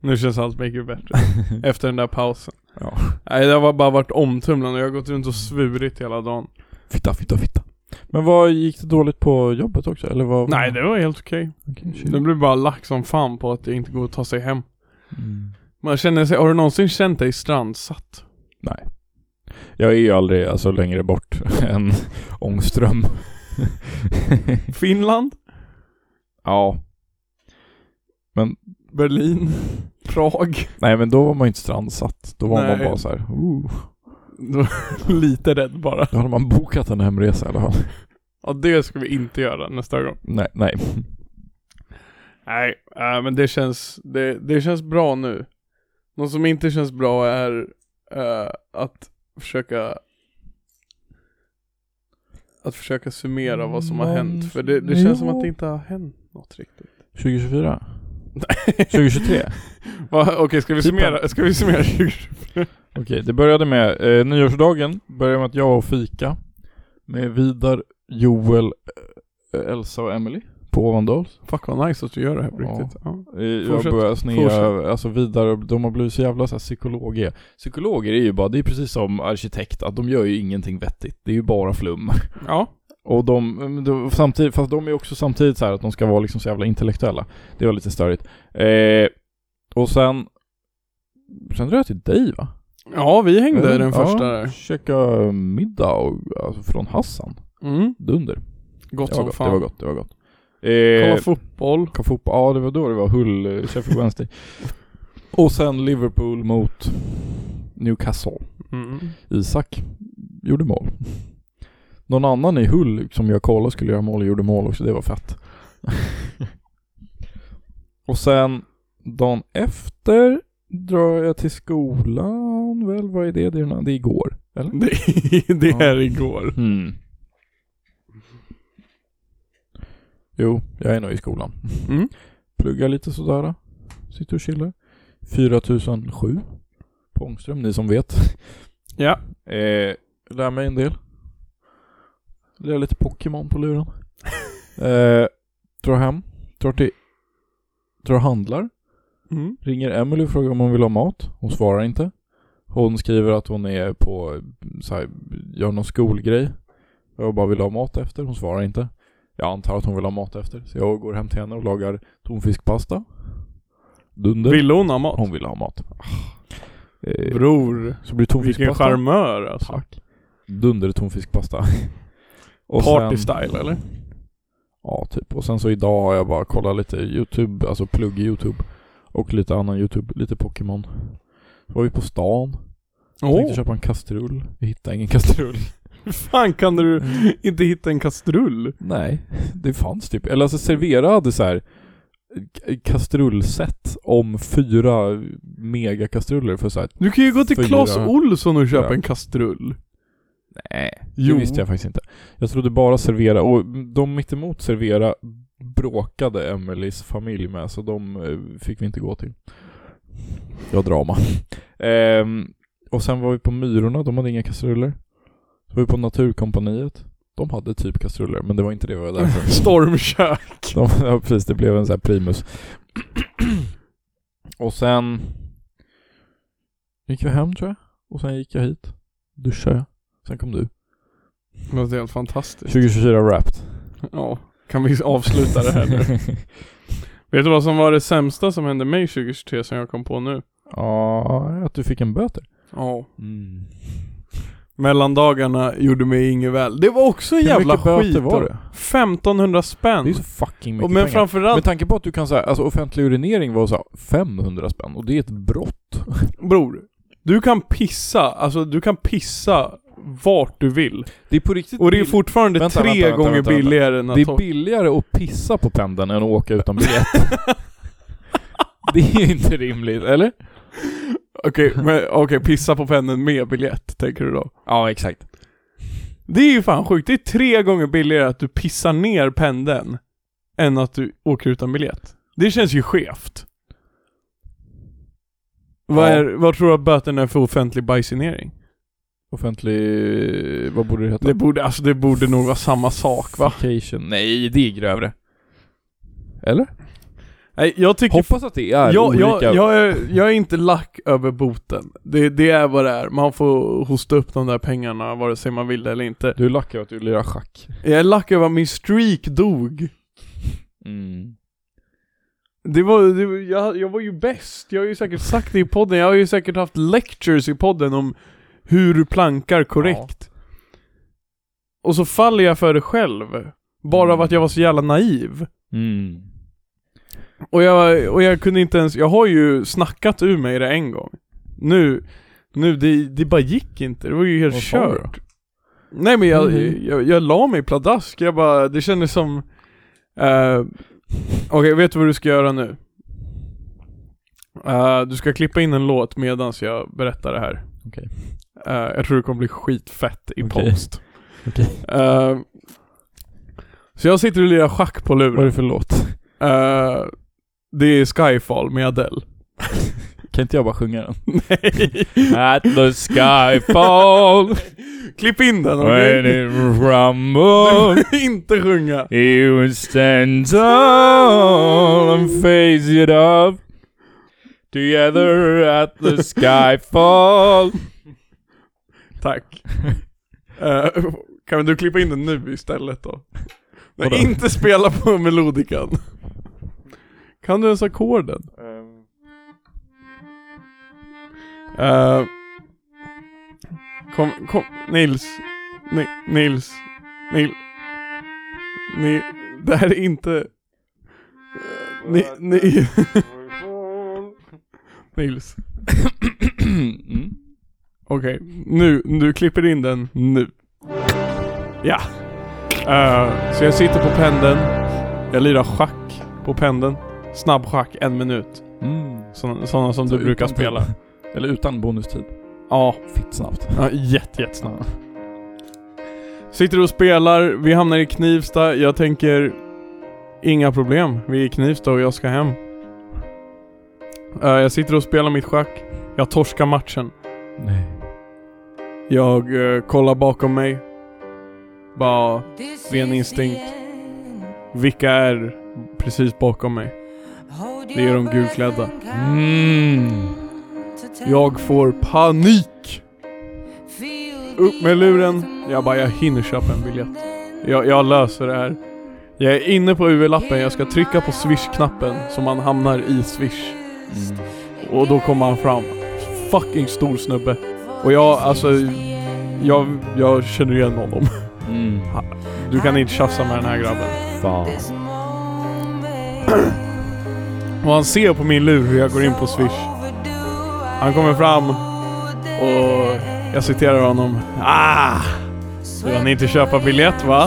S2: Nu känns allt
S1: [LAUGHS]
S2: mycket bättre efter den där pausen.
S1: Ja.
S2: Nej det har bara varit omtumlande, jag har gått runt och svurit hela dagen.
S1: Fitta, fitta, fitta. Men vad gick det dåligt på jobbet också? Eller vad?
S2: Nej det var helt okej.
S1: Okej, shit.
S2: Det blir bara lack som fan på att det inte går att ta sig hem.
S1: Mm.
S2: Man känner sig, har du någonsin känt dig strandsatt?
S1: Jag är ju aldrig alltså, längre bort [LAUGHS] än Ångström.
S2: [LAUGHS]
S1: [LAUGHS]
S2: Finland?
S1: ja.
S2: Berlin? [LAUGHS] Prag?
S1: Nej men då var man ju inte strandsatt. Då var man
S2: Nej.
S1: bara så här. "Ooh."
S2: Lite rädd bara.
S1: Då hade man bokat en hemresa i alla fall.
S2: Ja det ska vi inte göra nästa gång.
S1: Nej, nej.
S2: Nej, eh, men det känns, det, det känns bra nu. Något som inte känns bra är eh, att försöka att försöka summera vad som har hänt. För det, det känns som att det inte har hänt något riktigt.
S1: 2024? 2023?
S2: Va, Okej, ska vi
S1: Typ
S2: summera? Ska vi summera? [LAUGHS]
S1: Okej, det började med eh, nyårsdagen, började med att jag och fika med Vidar, Joel, eh, Elsa och Emily på Ovandals.
S2: Fuck vad nice att du gör det här på
S1: Ja.
S2: riktigt. Ja.
S1: Eh, Jag
S2: Fortsätt.
S1: börjar snea,
S2: Fortsätt.
S1: alltså vidare, de har blivit så jävla så här psykologer. Psykologer är ju bara, det är precis som arkitekt, att de gör ju ingenting vettigt. Det är ju bara flum.
S2: ja.
S1: [LAUGHS] Och de, men de- samtidigt, fast de är också samtidigt så här att de ska vara liksom så jävla intellektuella. Det var lite störigt. Eh, och sen, sen drog jag till dig va?
S2: Ja, vi hängde
S1: Mm, ja.
S2: den första där.
S1: Käka middag och, alltså, från Hassan.
S2: Mm.
S1: Dunder.
S2: Gott
S1: Det var
S2: som
S1: gott,
S2: fan.
S1: det var gott, det var gott.
S2: Kolla
S1: Eh,
S2: fotboll.
S1: kolla fotboll. Ja, det var då det var Hull, eh, Sheffield Wednesday. Och sen Liverpool mot Newcastle.
S2: Mm. [LAUGHS]
S1: Isak gjorde mål. Någon annan i Hull som jag kollade skulle göra mål och gjorde mål också, det var fett. och sen dagen efter drar jag till skolan, väl vad är det? Det är, någon- det är igår, eller?
S2: Det, det är igår.
S1: Mm. Jo, jag är nog i skolan.
S2: Mm.
S1: Pluggar lite sådär. Sitter och chillar. 4007 på Ångström, ni som vet.
S2: Ja.
S1: Eh, lär mig en del. Lär lite Pokémon på
S2: [LAUGHS]
S1: luren. eh, drar hem. Drar till... Drar och handlar.
S2: Mm.
S1: Ringer Emily och frågar om hon vill ha mat. Hon svarar inte. Hon skriver att hon är på, så här, gör någon skolgrej. Jag bara vill ha mat efter. Hon svarar inte. Jag antar att hon vill ha mat efter. Så jag går hem till henne och lagar tonfiskpasta. Dunder.
S2: Ville hon ha mat?
S1: Hon vill ha mat. Ah. Eh,
S2: Bror.
S1: så blir det
S2: Vilken
S1: tonfiskpasta.
S2: charmör alltså.
S1: Tack. Dunder tonfiskpasta. [LAUGHS] Och
S2: Party
S1: sen-
S2: style eller?
S1: Ja, typ. Och sen så idag har jag bara kollat lite YouTube, alltså plugg i YouTube. Och lite annan YouTube, lite Pokémon. Så var vi på stan, tänkte
S2: Åh,
S1: köpa en kastrull. Vi hittade ingen kastrull. [LAUGHS]
S2: hur fan kan du
S1: Mm.
S2: inte hitta en kastrull?
S1: Nej, det fanns typ. Eller alltså Servera hade så här k- kastrullset om fyra megakastruller för så här.
S2: Du kan ju gå till
S1: Fyra.
S2: Clas Olsson och köpa
S1: Ja.
S2: en kastrull.
S1: Nej,
S2: Jo.
S1: Det visste jag faktiskt inte. Jag trodde bara servera och de mittemot servera bråkade Emelies familj med så de eh, fick vi inte gå till. Det var drama. [LAUGHS] Ehm, och sen var vi på Myrorna, de hade inga kastruller. Så var vi på Naturkompaniet. De hade typ kastruller men det var inte det vi var där
S2: [LAUGHS]
S1: för.
S2: Stormkök.
S1: De, ja, precis, det blev en sån här primus. [CLEARS THROAT] Och sen gick vi hem tror jag. Och sen gick jag hit. Duschade jag. Sen kom du.
S2: Det låter helt fantastiskt.
S1: 2024 wrapped.
S2: Ja, kan vi avsluta det här nu?
S1: [LAUGHS]
S2: Vet du vad som var det sämsta som hände mig 2023 som jag kom på nu?
S1: Ja, att du fick en böter.
S2: Ja.
S1: Mm.
S2: Mellandagarna gjorde mig inget väl. Det var också en
S1: Hur
S2: jävla
S1: mycket
S2: skit.
S1: böter var det?
S2: 1500 spänn.
S1: Det är så fucking mycket
S2: och
S1: pengar.
S2: men
S1: Med
S2: framförallt,
S1: tanke på att du kan säga, alltså offentlig urinering var så här 500 spänn och det är ett brott.
S2: bror. Du kan pissa, alltså du kan pissa vart du vill.
S1: Det är på riktigt
S2: Och det är
S1: bill-
S2: fortfarande
S1: Vänta,
S2: tre
S1: vänta, vänta,
S2: gånger
S1: vänta, vänta.
S2: billigare än att
S1: det
S2: ta-
S1: är billigare att pissa på pendeln än att åka utan
S2: [LAUGHS]
S1: biljett. det är inte rimligt, eller?
S2: Okej, men okej, pissa på pennen med biljett, tänker du då?
S1: Ja, exakt.
S2: Det är ju fan sjukt, det är tre gånger billigare att du pissar ner pendeln än att du åker utan biljett. Det känns ju skevt. Vad,
S1: Ja.
S2: är, vad tror du att böterna är för offentlig bajsinering?
S1: Offentlig... Vad borde det heta?
S2: Det borde, alltså det borde nog vara samma sak va?
S1: Vacation. Nej, det är grövre. Eller?
S2: Nej, jag tycker...
S1: Hoppas att det är
S2: jag,
S1: olika.
S2: jag, jag, är, jag är inte lack över boten. Det, det är vad det är. Man får hosta upp de där pengarna vare sig man vill det eller inte.
S1: Du är lack över att du lirar schack.
S2: Jag är lack över att min streak dog.
S1: Mm.
S2: Det var, det var jag, jag var ju bäst, jag har ju säkert sagt det i podden, jag har ju säkert haft lectures i podden om hur du plankar korrekt. Och så faller jag för det själv. Bara av att jag var så jävla naiv.
S1: Mm.
S2: Och jag, och jag kunde inte ens, jag har ju snackat ur mig det en gång. Nu, nu det, det bara gick inte, det var ju helt
S1: Vad sa du då?
S2: kört. Nej men jag,
S1: Mhm.
S2: jag, jag la mig pladask, jag bara, det kändes som... eh, Okej, vet du vad du ska göra nu? Eh, du ska klippa in en låt medans jag berättar det här.
S1: Okej.
S2: Eh, jag tror det kommer bli skitfett i
S1: Okej.
S2: post.
S1: [LAUGHS] Okej.
S2: Eh, så jag sitter och lirar schack på luren.
S1: Vad är det för låt?
S2: [LAUGHS] Eh, det är Skyfall med Adele.
S1: Kan inte jag bara sjunga den? At the [LAUGHS] skyfall
S2: Klipp in den okej?
S1: when it rumbles
S2: [LAUGHS] Inte sjunga.
S1: You will stand tall and face it up Together at the skyfall
S2: Tack. Eh, kan du klippa in den nu istället då? Nej,
S1: Vadå?
S2: inte spela på melodikan. Kan du ens ackorden? Eh, kom, kom, Nils. Ni, Nils. Nil. Ni, det här är inte... Ni, ni, [LAUGHS] Nils.
S1: [COUGHS] Mm.
S2: Okej, nu, du klipper in den nu. Ja. Eh, så jag sitter på pendeln. Jag lirar schack på pendeln. Snabbschack, en minut.
S1: Mm.
S2: Sådana såna som
S1: Så
S2: du brukar
S1: utan
S2: spela.
S1: tid. Eller utan bonustid.
S2: Ja,
S1: Fitt snabbt.
S2: ja jätte, jättesnabbt. Sitter och spelar, vi hamnar i Knivsta. Jag tänker, inga problem. Vi är i Knivsta och jag ska hem. Eh, jag sitter och spelar mitt schack. Jag torskar matchen.
S1: Nej.
S2: Jag eh, kollar bakom mig. Bara,
S3: Ren instinkt.
S2: vilka är precis bakom mig?
S3: Det är de gulklädda.
S1: Mm.
S2: Jag får panik! Upp med luren. Jag bara, jag hinner köpa en biljett. Jag, jag löser det här. Jag är inne på UV-lappen, jag ska trycka på swish-knappen så man hamnar i swish.
S1: Mm.
S2: Och då kommer han fram. Fucking stor snubbe. Och jag, alltså, jag, jag känner igen honom. [LAUGHS]
S1: Mm.
S2: Du kan inte tjafsa med den här grabben.
S1: Fan.
S2: Och han ser på min lur hur jag går in på swish. Han kommer fram och jag citerar honom. Ah! Du hann inte köpa biljett va?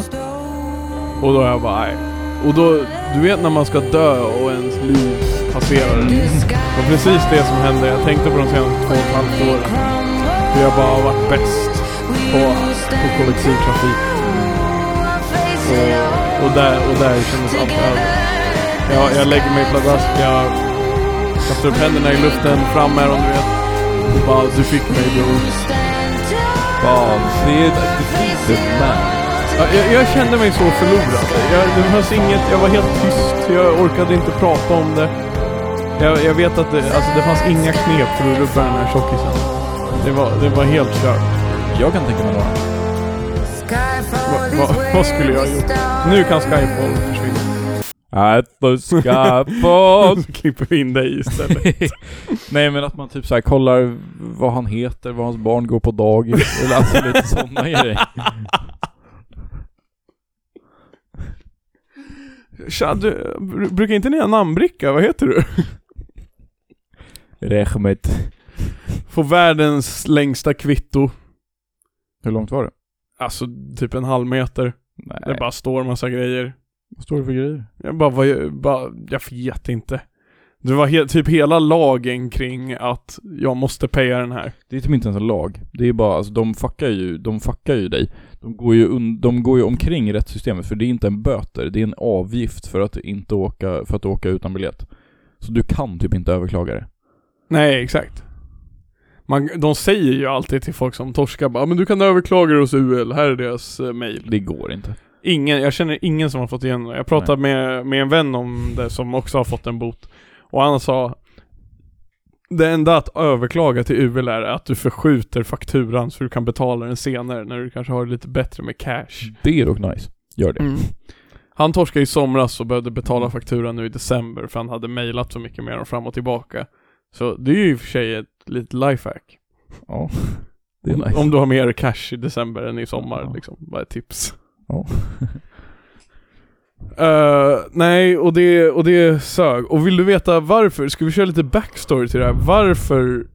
S2: Och då är jag bara nej. Och då, du vet när man ska dö och ens liv passerar. Det var precis det som hände. Jag tänkte på de senaste två och ett halvt åren. Hur jag bara har varit bäst på, på kollektivtrafik. Och, och där, och där kändes allt över. Jag, jag lägger mig pladask, jag kastar upp händerna i luften, fram med dem du vet. Och bara, du fick mig bror.
S1: Fan. Det är ett definitivt nej.
S2: Ja, Jag, jag kände mig så förlorad. Jag, det hörs inget, jag var helt tyst, jag orkade inte prata om det. Jag, jag vet att det, alltså, det fanns inga knep för att rubba den här tjockisen. Det var, det var helt kört.
S1: Jag kan tänka mig några.
S2: Va, va, vad skulle jag ha gjort? Nu kan Skyfall [LAUGHS] försvinna.
S1: At the skyfall.
S2: Så klipper vi in dig istället.
S1: [LAUGHS] Nej men att man typ så här kollar vad han heter, vad hans barn går på dagis. Eller alltså [LAUGHS] lite sådana grejer.
S2: [LAUGHS] Tja, du, br- brukar inte ni ha namnbricka? Vad heter du?
S1: Rehmet.
S2: Får världens längsta kvitto.
S1: Hur långt var det?
S2: Alltså typ en halv meter.
S1: Nej.
S2: Det bara står massa grejer.
S1: Vad står det för grejer?
S2: Jag bara, vad, jag, bara, jag vet inte. Det var he- typ hela lagen kring att jag måste paya den här.
S1: Det är typ inte ens en lag. Det är bara, alltså de fuckar ju, de fuckar ju dig. De går ju, un, de går ju omkring rättssystemet för det är inte en böter, det är en avgift för att inte åka, för att åka utan biljett. Så du kan typ inte överklaga det.
S2: Nej, exakt. Man, de säger ju alltid till folk som torskar bara, "Ah, men du kan överklaga det hos UL, här är deras eh, mail.
S1: Det går inte.
S2: Ingen, jag känner ingen som har fått igenom det. Jag pratade med, med en vän om det som också har fått en bot. Och han sa, det enda att överklaga till UL är att du förskjuter fakturan så du kan betala den senare när du kanske har det lite bättre med cash.
S1: Det är dock nice. Gör
S2: Mm.
S1: det.
S2: Han torskade i somras och behövde betala fakturan nu i december för han hade mejlat så mycket med dem fram och tillbaka. Så det är ju i och för sig ett litet lifehack.
S1: Ja. Det är
S2: Om-
S1: nice.
S2: Om du har mer cash i december än i sommar
S1: Ja.
S2: liksom. Bara ett tips.
S1: Ja.
S2: [LAUGHS] Eh, nej, och det, och det sög. Och vill du veta varför? Ska vi köra lite backstory till det här? Varför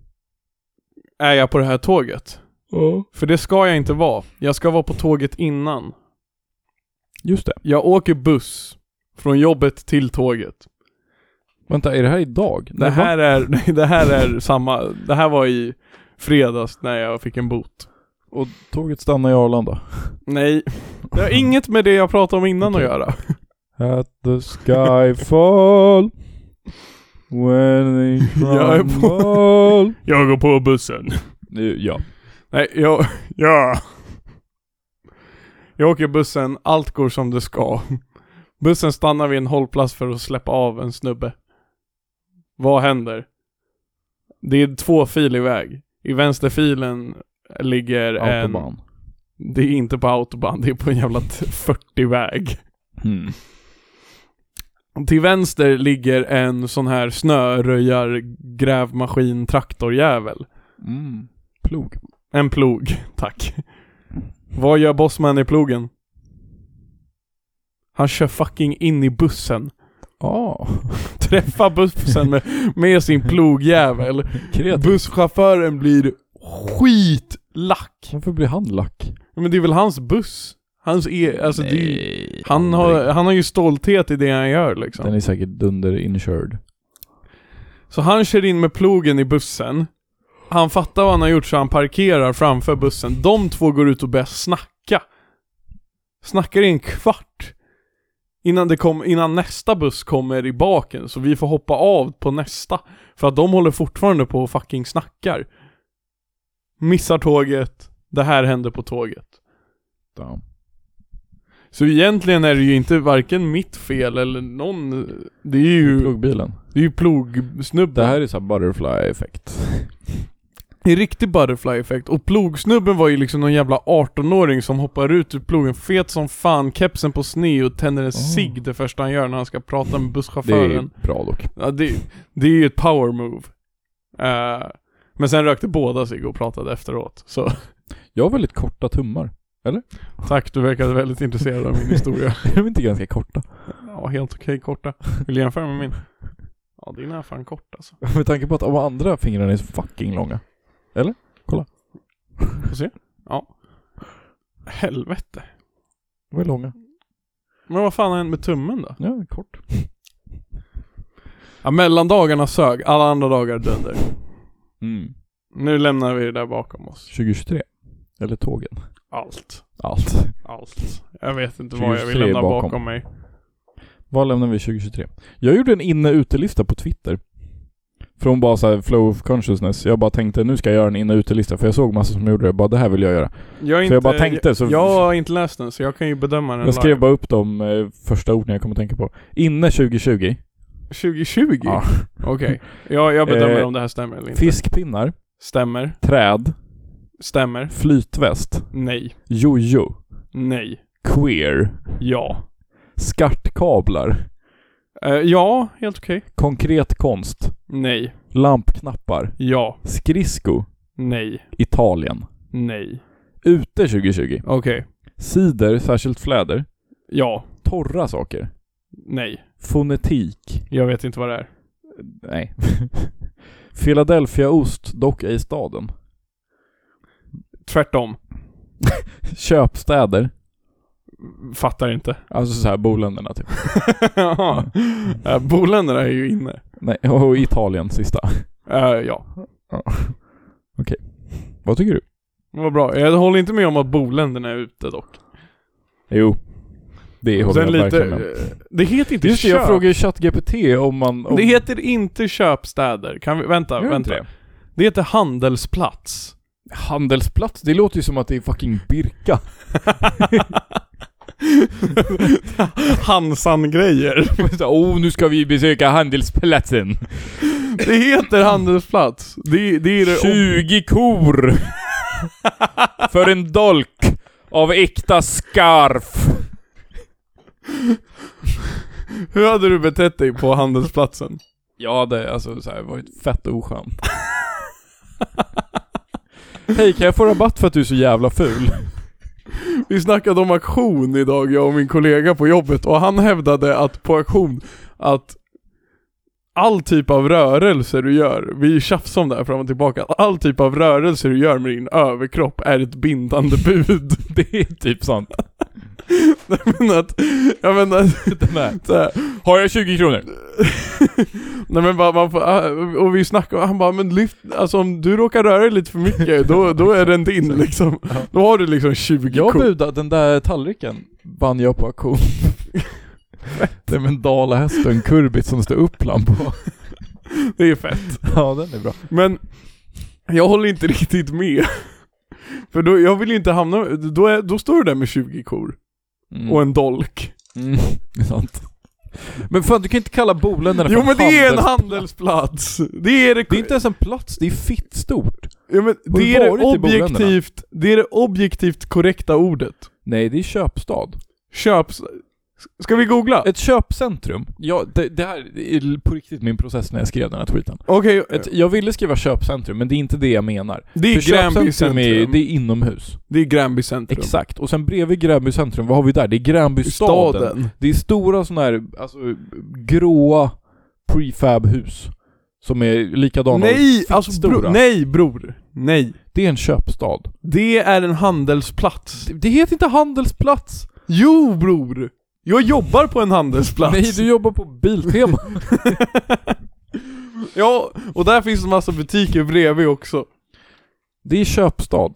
S2: är jag på det här tåget? För det ska jag inte vara. Jag ska vara på tåget innan.
S1: Just det.
S2: Jag åker buss från jobbet till tåget.
S1: Vänta, är det här idag?
S2: Det här är, [LAUGHS] nej, det här är samma, det här var i fredags när jag fick en bot.
S1: Och tåget stannar i Arlanda.
S2: Nej, det har inget med det jag pratade om innan
S1: Okej.
S2: att göra.
S1: At the skyfall. When they
S2: [LAUGHS] Jag är på-
S1: crumble.
S4: Jag går på bussen.
S1: Nu, ja.
S2: Nej, jag,
S4: [LAUGHS] Ja.
S2: jag åker bussen, allt går som det ska. Bussen stannar vid en hållplats för att släppa av en snubbe. Vad händer? Det är två filer väg. I vänsterfilen ligger en...
S1: Autobahn.
S2: Det är inte på autobahn, det är på en jävla 40-väg.
S1: Mm.
S2: Till vänster ligger en sån här snöröjar-grävmaskin-traktorjävel.
S1: Mm. Plog.
S2: En plog, tack. Vad gör Bossman i plogen? Han kör fucking in i bussen. [LAUGHS]
S1: Ja.
S2: Träffar bussen med, med sin plogjävel.
S1: Kreativ.
S2: Busschauffören blir skitlack.
S1: Varför blir han lack?
S2: Men det är väl hans buss? Hans e... Alltså det är ju,
S1: Nej,
S2: han, har, han har ju stolthet i det han gör liksom.
S1: Den är säkert dunder insured.
S2: Så han kör in med plogen i bussen. Han fattar vad han har gjort så han parkerar framför bussen. De två går ut och börjar snacka. Snackar i en kvart. Innan, det kom, innan nästa buss kommer i baken, så vi får hoppa av på nästa. För att de håller fortfarande på och fucking snackar. Missar tåget. Det här händer på tåget.
S1: Ja.
S2: Så egentligen är det ju inte varken mitt fel eller någon... Det är ju,
S1: Plogbilen.
S2: det är ju plogsnubben.
S1: Det här är så här butterfly effekt.
S2: Det är riktig butterfly effekt och plogsnubben var ju liksom någon jävla 18-åring som hoppar ut ur plogen, fet som fan, kepsen på sned och tänder en cigg det första han gör när han ska prata med
S1: Oh. Det är
S2: busschauffören.
S1: bra dock.
S2: Det är, ja, det, det är ju ett power move. Eh, men sen rökte båda cigg och pratade efteråt, så [LAUGHS]
S1: Jag har väldigt korta tummar.
S2: tack du verkade väldigt intresserad av
S1: [LAUGHS]
S2: min historia.
S1: Är de inte ganska korta?
S2: Ja, helt okej korta. Vill du jämföra med min? Ja, din är fan kort alltså.
S1: Med tanke på att de andra fingrarna är så fucking långa.
S2: Helvete.
S1: De är långa.
S2: Men vad fan har hänt med tummen då?
S1: Ja, kort.
S2: Ja, mellandagarna sög, alla andra dagar dunder.
S1: Mm.
S2: Nu lämnar vi det där bakom oss.
S1: 2023. Eller tågen.
S2: Allt.
S1: Allt.
S2: Allt. Jag vet inte
S1: Just
S2: vad jag vill
S1: det,
S2: lämna bakom.
S1: bakom.
S2: mig.
S1: Vad lämnar vi 2023? Jag gjorde en inne-utelista på Twitter. Från bara så här flow of consciousness. Jag bara tänkte nu ska jag göra en inne-utelista för jag såg massa som gjorde det. Bara det här vill jag göra.
S2: Jag, är
S1: Så jag bara tänkte, så-
S2: jag, jag har inte läst den så jag kan ju bedöma den
S1: Jag skrev
S2: live.
S1: bara upp de eh, första orden jag kommer att tänka på. Inne 2020.
S2: 2020?
S1: Ja.
S2: Okej. Jag, jag bedömer
S1: Eh,
S2: om det här stämmer eller inte.
S1: Fiskpinnar.
S2: Stämmer.
S1: Träd.
S2: Stämmer.
S1: Flytväst.
S2: Nej.
S1: Jojo.
S2: Nej.
S1: Queer.
S2: Ja.
S1: Skartkablar.
S2: Eh, ja, helt okej.
S1: Konkret konst.
S2: Nej.
S1: Lampknappar.
S2: Ja.
S1: Skrisko.
S2: Nej.
S1: Italien.
S2: Nej.
S1: Ute 2020.
S2: Okej.
S1: Cider, särskilt fläder.
S2: Ja.
S1: Torra saker.
S2: Nej.
S1: Fonetik.
S2: Jag vet inte vad det är.
S1: Nej. [LAUGHS] Philadelphiaost, dock ej staden.
S2: Tvärtom.
S1: Köpstäder.
S2: Fattar
S1: [LAUGHS]
S2: inte.
S1: Alltså så här boländerna typ.
S2: Ja. Eh, Boländerna är ju inne.
S1: Nej, och Italien sista.
S2: Eh, ja.
S1: Vad tycker du?
S2: Vad bra. Jag håller inte med om att boländerna är ute dock.
S1: Jo. Det håller jag
S2: Sen
S1: verkligen med.
S2: eh, Det heter inte
S1: Just det,
S2: köp.
S1: jag frågade ju ChatGPT om man... Om...
S2: Det heter inte köpstäder. Kan vi, vänta,
S1: Gör det
S2: vänta.
S1: inte
S2: Det? heter [LAUGHS] handelsplats.
S1: det? Handelsplats, det låter ju som att det är fucking Birka.
S2: Hansan-grejer.
S1: [LAUGHS] Så här, oh, nu ska vi besöka [LAUGHS] handelsplatsen.
S2: Det heter handelsplats. Det, det är det...
S1: 20 kor! [LAUGHS] För en dolk av äkta skarf.
S2: Hur hade du betett dig på handelsplatsen?
S1: Ja, det alltså så här, varit fett oskön. [LAUGHS] Hej, kan jag få rabatt för att du är så jävla ful?
S2: Vi snackade om auktion idag, jag och min kollega på jobbet, och han hävdade att på auktion, att all typ av rörelser du gör, vi tjafsade om det här fram och tillbaka, att all typ av rörelser du gör med din överkropp är ett bindande bud.
S1: [LAUGHS]
S2: [LAUGHS]
S1: Det är typ sant.
S2: Jag menar att, jag menar att,
S1: Nej.
S2: så här, [LAUGHS]
S1: Har jag 20 kronor?
S2: nej men bara, man får, ah, och vi snackade, han bara men lyft, alltså om du råkar röra dig lite för mycket, då, då är den din liksom. Då har du liksom 20
S1: Jag
S2: kor.
S1: budade, den där tallriken vann jag på [LAUGHS] auktion. Det är med en dalahäst och en kurbit som det står Uppland på.
S2: Det är fett.
S1: [LAUGHS] ja, den är bra.
S2: Men jag håller inte [LAUGHS] riktigt med. För då, jag vill ju inte hamna, då, är, då står du där med 20 kor
S1: Mm.
S2: och en dolk.
S1: Mm, [LAUGHS] det är sant. Men fan, du kan inte kalla Boländerna för
S2: Jo men det är en
S1: Mm. handels-
S2: handelsplats! Det är det,
S1: Det är inte ens en plats, det är fittstort.
S2: ja, men,
S1: Har du
S2: det, är det,
S1: varit i Boländerna?
S2: objektivt, det är det objektivt korrekta ordet.
S1: Nej, det är köpstad.
S2: Köps... Ska vi googla?
S1: Ett köpcentrum. Ja, det, det här är på riktigt min process när jag skrev den här tweeten.
S2: Okej,
S1: Ett, jag ville skriva köpcentrum, men det är inte det jag menar.
S2: det är
S1: För
S2: Gränby
S1: köpcentrum
S2: centrum.
S1: är, det är inomhus.
S2: Det är Gränby centrum.
S1: Exakt. Och sen bredvid Gränby centrum, vad har vi där? Det är Gränbystaden.
S2: Staden.
S1: Det är stora sådana här, alltså gråa prefab-hus. Som är likadana.
S2: Nej,
S1: och
S2: alltså
S1: stora.
S2: bro, nej bror. Nej.
S1: Det är en köpstad.
S2: Det är en handelsplats.
S1: Det, det heter inte handelsplats!
S2: Jo bror! Jag jobbar på en handelsplats.
S1: Nej, du jobbar på
S2: [LAUGHS]
S1: Biltema.
S2: Ja, och där finns en massa butiker bredvid också.
S1: det är köpstad.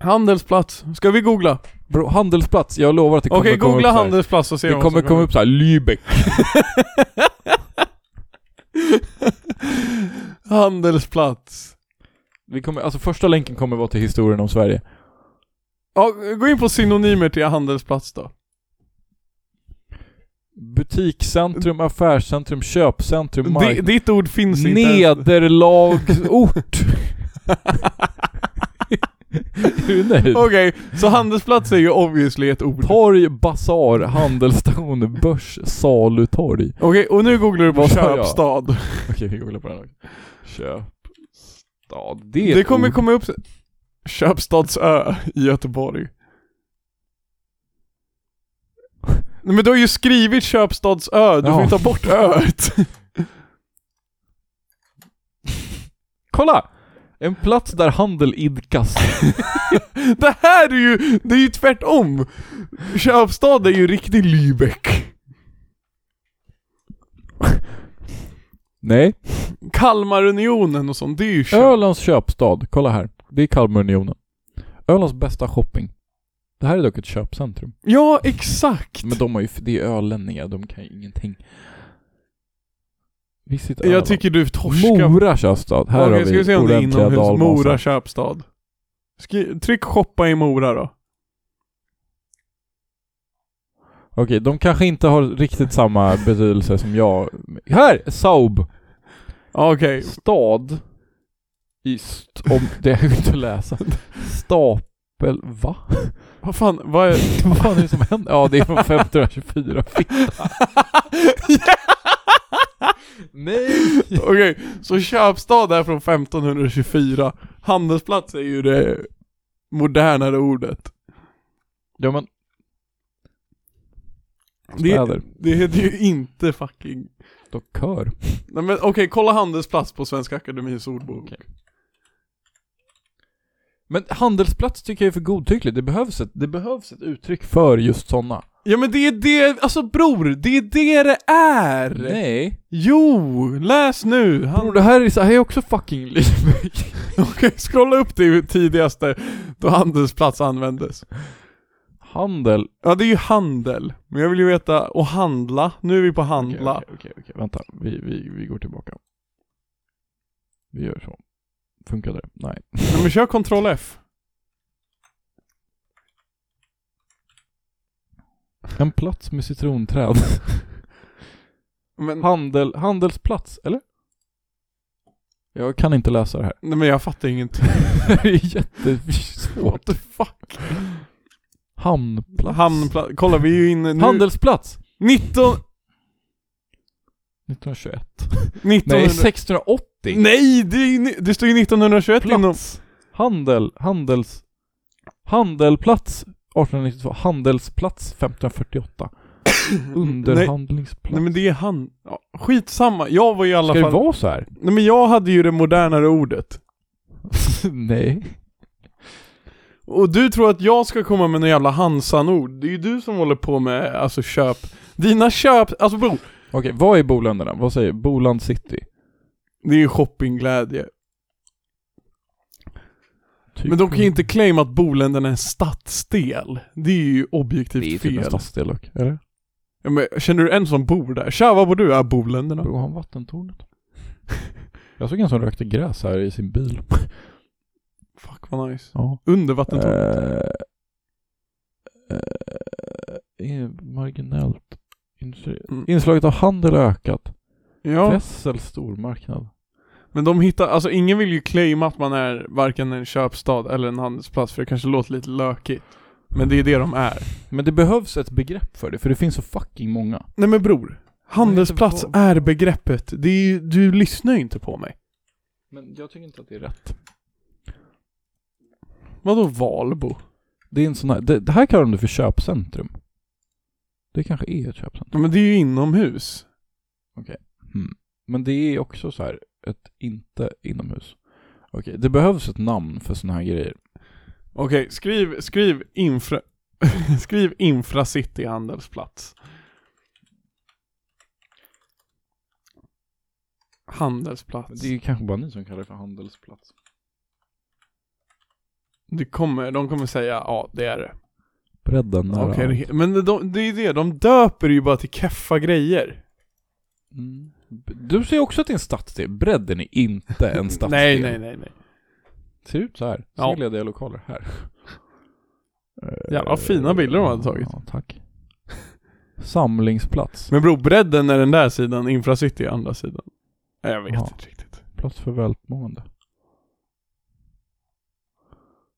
S2: Handelsplats. Ska vi googla?
S1: Bro, handelsplats, jag lovar att det kommer
S2: Okej,
S1: komma
S2: googla
S1: upp så här.
S2: handelsplats och se
S1: Det
S2: vad som
S1: kommer komma upp såhär, Lübeck.
S2: [LAUGHS] Handelsplats.
S1: Vi kommer, alltså första länken kommer vara till historien om Sverige.
S2: Ja, gå in på synonymer till handelsplats då.
S1: Butikscentrum, affärscentrum, köpcentrum,
S2: Di-
S1: mark...
S2: ditt ord finns inte ens.
S1: Nederlagsort!
S2: [LAUGHS]
S1: Är du nöjd?
S2: Okej, så handelsplats är ju obviously ett ord. Okej,
S1: Torg, basar, handelsstation, börs, salutorg.
S2: och nu googlar du på
S1: Vad sa jag?
S2: köpstad.
S1: Okej, vi googlar på den också. Köpstad. Det är
S2: Det
S1: ett
S2: kommer
S1: ord.
S2: komma upp Köpstadsö i Göteborg. Nej, Men du har ju skrivit Köpstadsö, du får
S1: Ja.
S2: ju ta bort öet.
S1: Kolla! En plats där handel idkas.
S2: [LAUGHS] Det här är ju, det är ju tvärtom! Köpstad är ju riktig Lübeck.
S1: [LAUGHS] Nej.
S2: Kalmarunionen och sånt, det är ju köp.
S1: Ölands köpstad. Kolla här. Det är Kalmarunionen. Ölands bästa shopping. Det här är dock ett köpcentrum.
S2: Ja, exakt!
S1: Men de har ju, det är ölänningar, de kan ju ingenting. Visst
S2: Jag tycker du torskar.
S1: Mora köpstad. Här
S2: Okej,
S1: har
S2: ska vi
S1: vi,
S2: se om det är
S1: ordentliga
S2: inomhus.
S1: dalmasar.
S2: Mora köpstad. Skri- tryck shoppa i Mora då.
S1: Okej, de kanske inte har riktigt samma betydelse som jag. Här! Saub.
S2: Okej.
S1: Stad. Ist. Om, det är ju inte att [LAUGHS] läsa. Stapel. Va?
S2: Vad fan, vad är...
S1: [LAUGHS] Vad fan är det som händer? Ja, det är från 1524. Fitta. [LAUGHS] Nej!
S2: Okej, så köpstad är från 1524. Handelsplats är ju det modernare ordet.
S1: Ja men,
S2: Det,
S1: Städer.
S2: det heter ju inte fucking...
S1: dockör.
S2: Nej men okej, kolla handelsplats på Svenska Akademiens ordbok.
S1: Okej. Men handelsplats tycker jag är för godtyckligt. Det behövs ett, det behövs ett uttryck för just sådana.
S2: Ja men det är det, alltså bror, det är det det är!
S1: Nej.
S2: Jo, läs nu!
S1: Bror,
S2: Han...
S1: det här är, så här är också fucking Lübeck.
S2: [LAUGHS] Okej, scrolla upp det tidigaste då handelsplats användes.
S1: Handel.
S2: Ja det är ju handel, men jag vill ju veta, och handla, nu är vi på
S1: Okej,
S2: handla.
S1: Okej, okej, okej. Vänta. Vi, vi, vi går tillbaka. Vi gör så. Funkar det? Nej.
S2: Nej, men kör ctrl F.
S1: En plats med citronträd.
S2: Men,
S1: Handel, handelsplats, eller? Jag kan inte läsa det här. [LAUGHS]
S2: nej men jag fattar ingenting.
S1: det är jättesvårt.
S2: What the fuck?
S1: Hamnplats.
S2: Hamnplats, kolla vi är ju inne nu.
S1: Handelsplats!
S2: 19...
S1: 1921.
S2: 1900...
S1: Nej, 1680.
S2: Nej, det, är ju ni- det står ju 1921 inom...
S1: Plats. Handel, handels... Handelplats 1892. Handelsplats
S2: [COUGHS]
S1: 1548. Underhandlingsplats.
S2: Nej men det är han... Ja, skitsamma, jag var i alla
S1: Ska det
S2: fall...
S1: vara så här? [LAUGHS]
S2: Nej men jag hade ju det modernare ordet.
S1: Nej.
S2: Och du tror att jag ska komma med några jävla Hansan-ord. Det är ju du som håller på med, alltså köp. Dina köp, alltså bror.
S1: Okej, vad är Boländerna? Vad säger Boland City?
S2: Det är ju shoppingglädje.
S1: Typ.
S2: Men de kan ju inte claima att Boländerna är en stadsdel. Det är ju objektivt
S1: Det är typ en
S2: fel.
S1: stadsdel dock, eller?
S2: Ja, men, känner du en som bor där? Tja, var bor du? Ja, Boländerna.
S1: Bor han vattentornet? [LAUGHS] Jag såg en som rökte gräs här i sin bil.
S2: Fuck vad nice.
S1: Ja.
S2: Undervattentåg.
S1: Eh, marginellt. Industri-
S2: Mm.
S1: Inslaget av handel har ökat.
S2: Ja.
S1: Vessel stormarknad.
S2: Men de hittar, alltså ingen vill ju claima att man är varken en köpstad eller en handelsplats för det kanske låter lite lökigt. Men det är det de är.
S1: Men det behövs ett begrepp för det, för det finns så fucking många.
S2: Nej men bror. Handelsplats
S1: Vad
S2: är begreppet. Det är ju, du lyssnar ju inte på mig.
S1: Men jag tycker inte att det är rätt.
S2: Vadå Valbo?
S1: Det är en sån här, det, det här kallar de det för köpcentrum. Det kanske är ett köpcentrum.
S2: Ja, Men det är ju inomhus.
S1: Men det är också så här, ett inte inomhus. Okej, det behövs ett namn för såna här grejer.
S2: Okej, skriv, skriv infra... [LAUGHS] skriv infracity handelsplats. Handelsplats.
S1: Det är ju kanske bara ni som kallar det för handelsplats.
S2: Det kommer, de kommer säga ja, det är det.
S1: Bredden nära.
S2: Okej,
S1: allt.
S2: det- men de, det är det, de döper ju bara till keffa grejer.
S1: Mm. B- Du säger också att det är en stadsdel. Bredden är inte
S2: [LAUGHS]
S1: en stadsdel.
S2: nej, nej, nej, nej.
S1: Ser ut så här.
S2: Ja.
S1: Så lediga lokaler här.
S2: [LAUGHS]
S1: Eh,
S2: Jävla fina bilder de hade tagit.
S1: Ja, tack. Samlingsplats.
S2: Men bro, bredden är den där sidan, infracity är andra sidan. Nej, jag vet
S1: Ja.
S2: inte riktigt.
S1: Plats för välmående.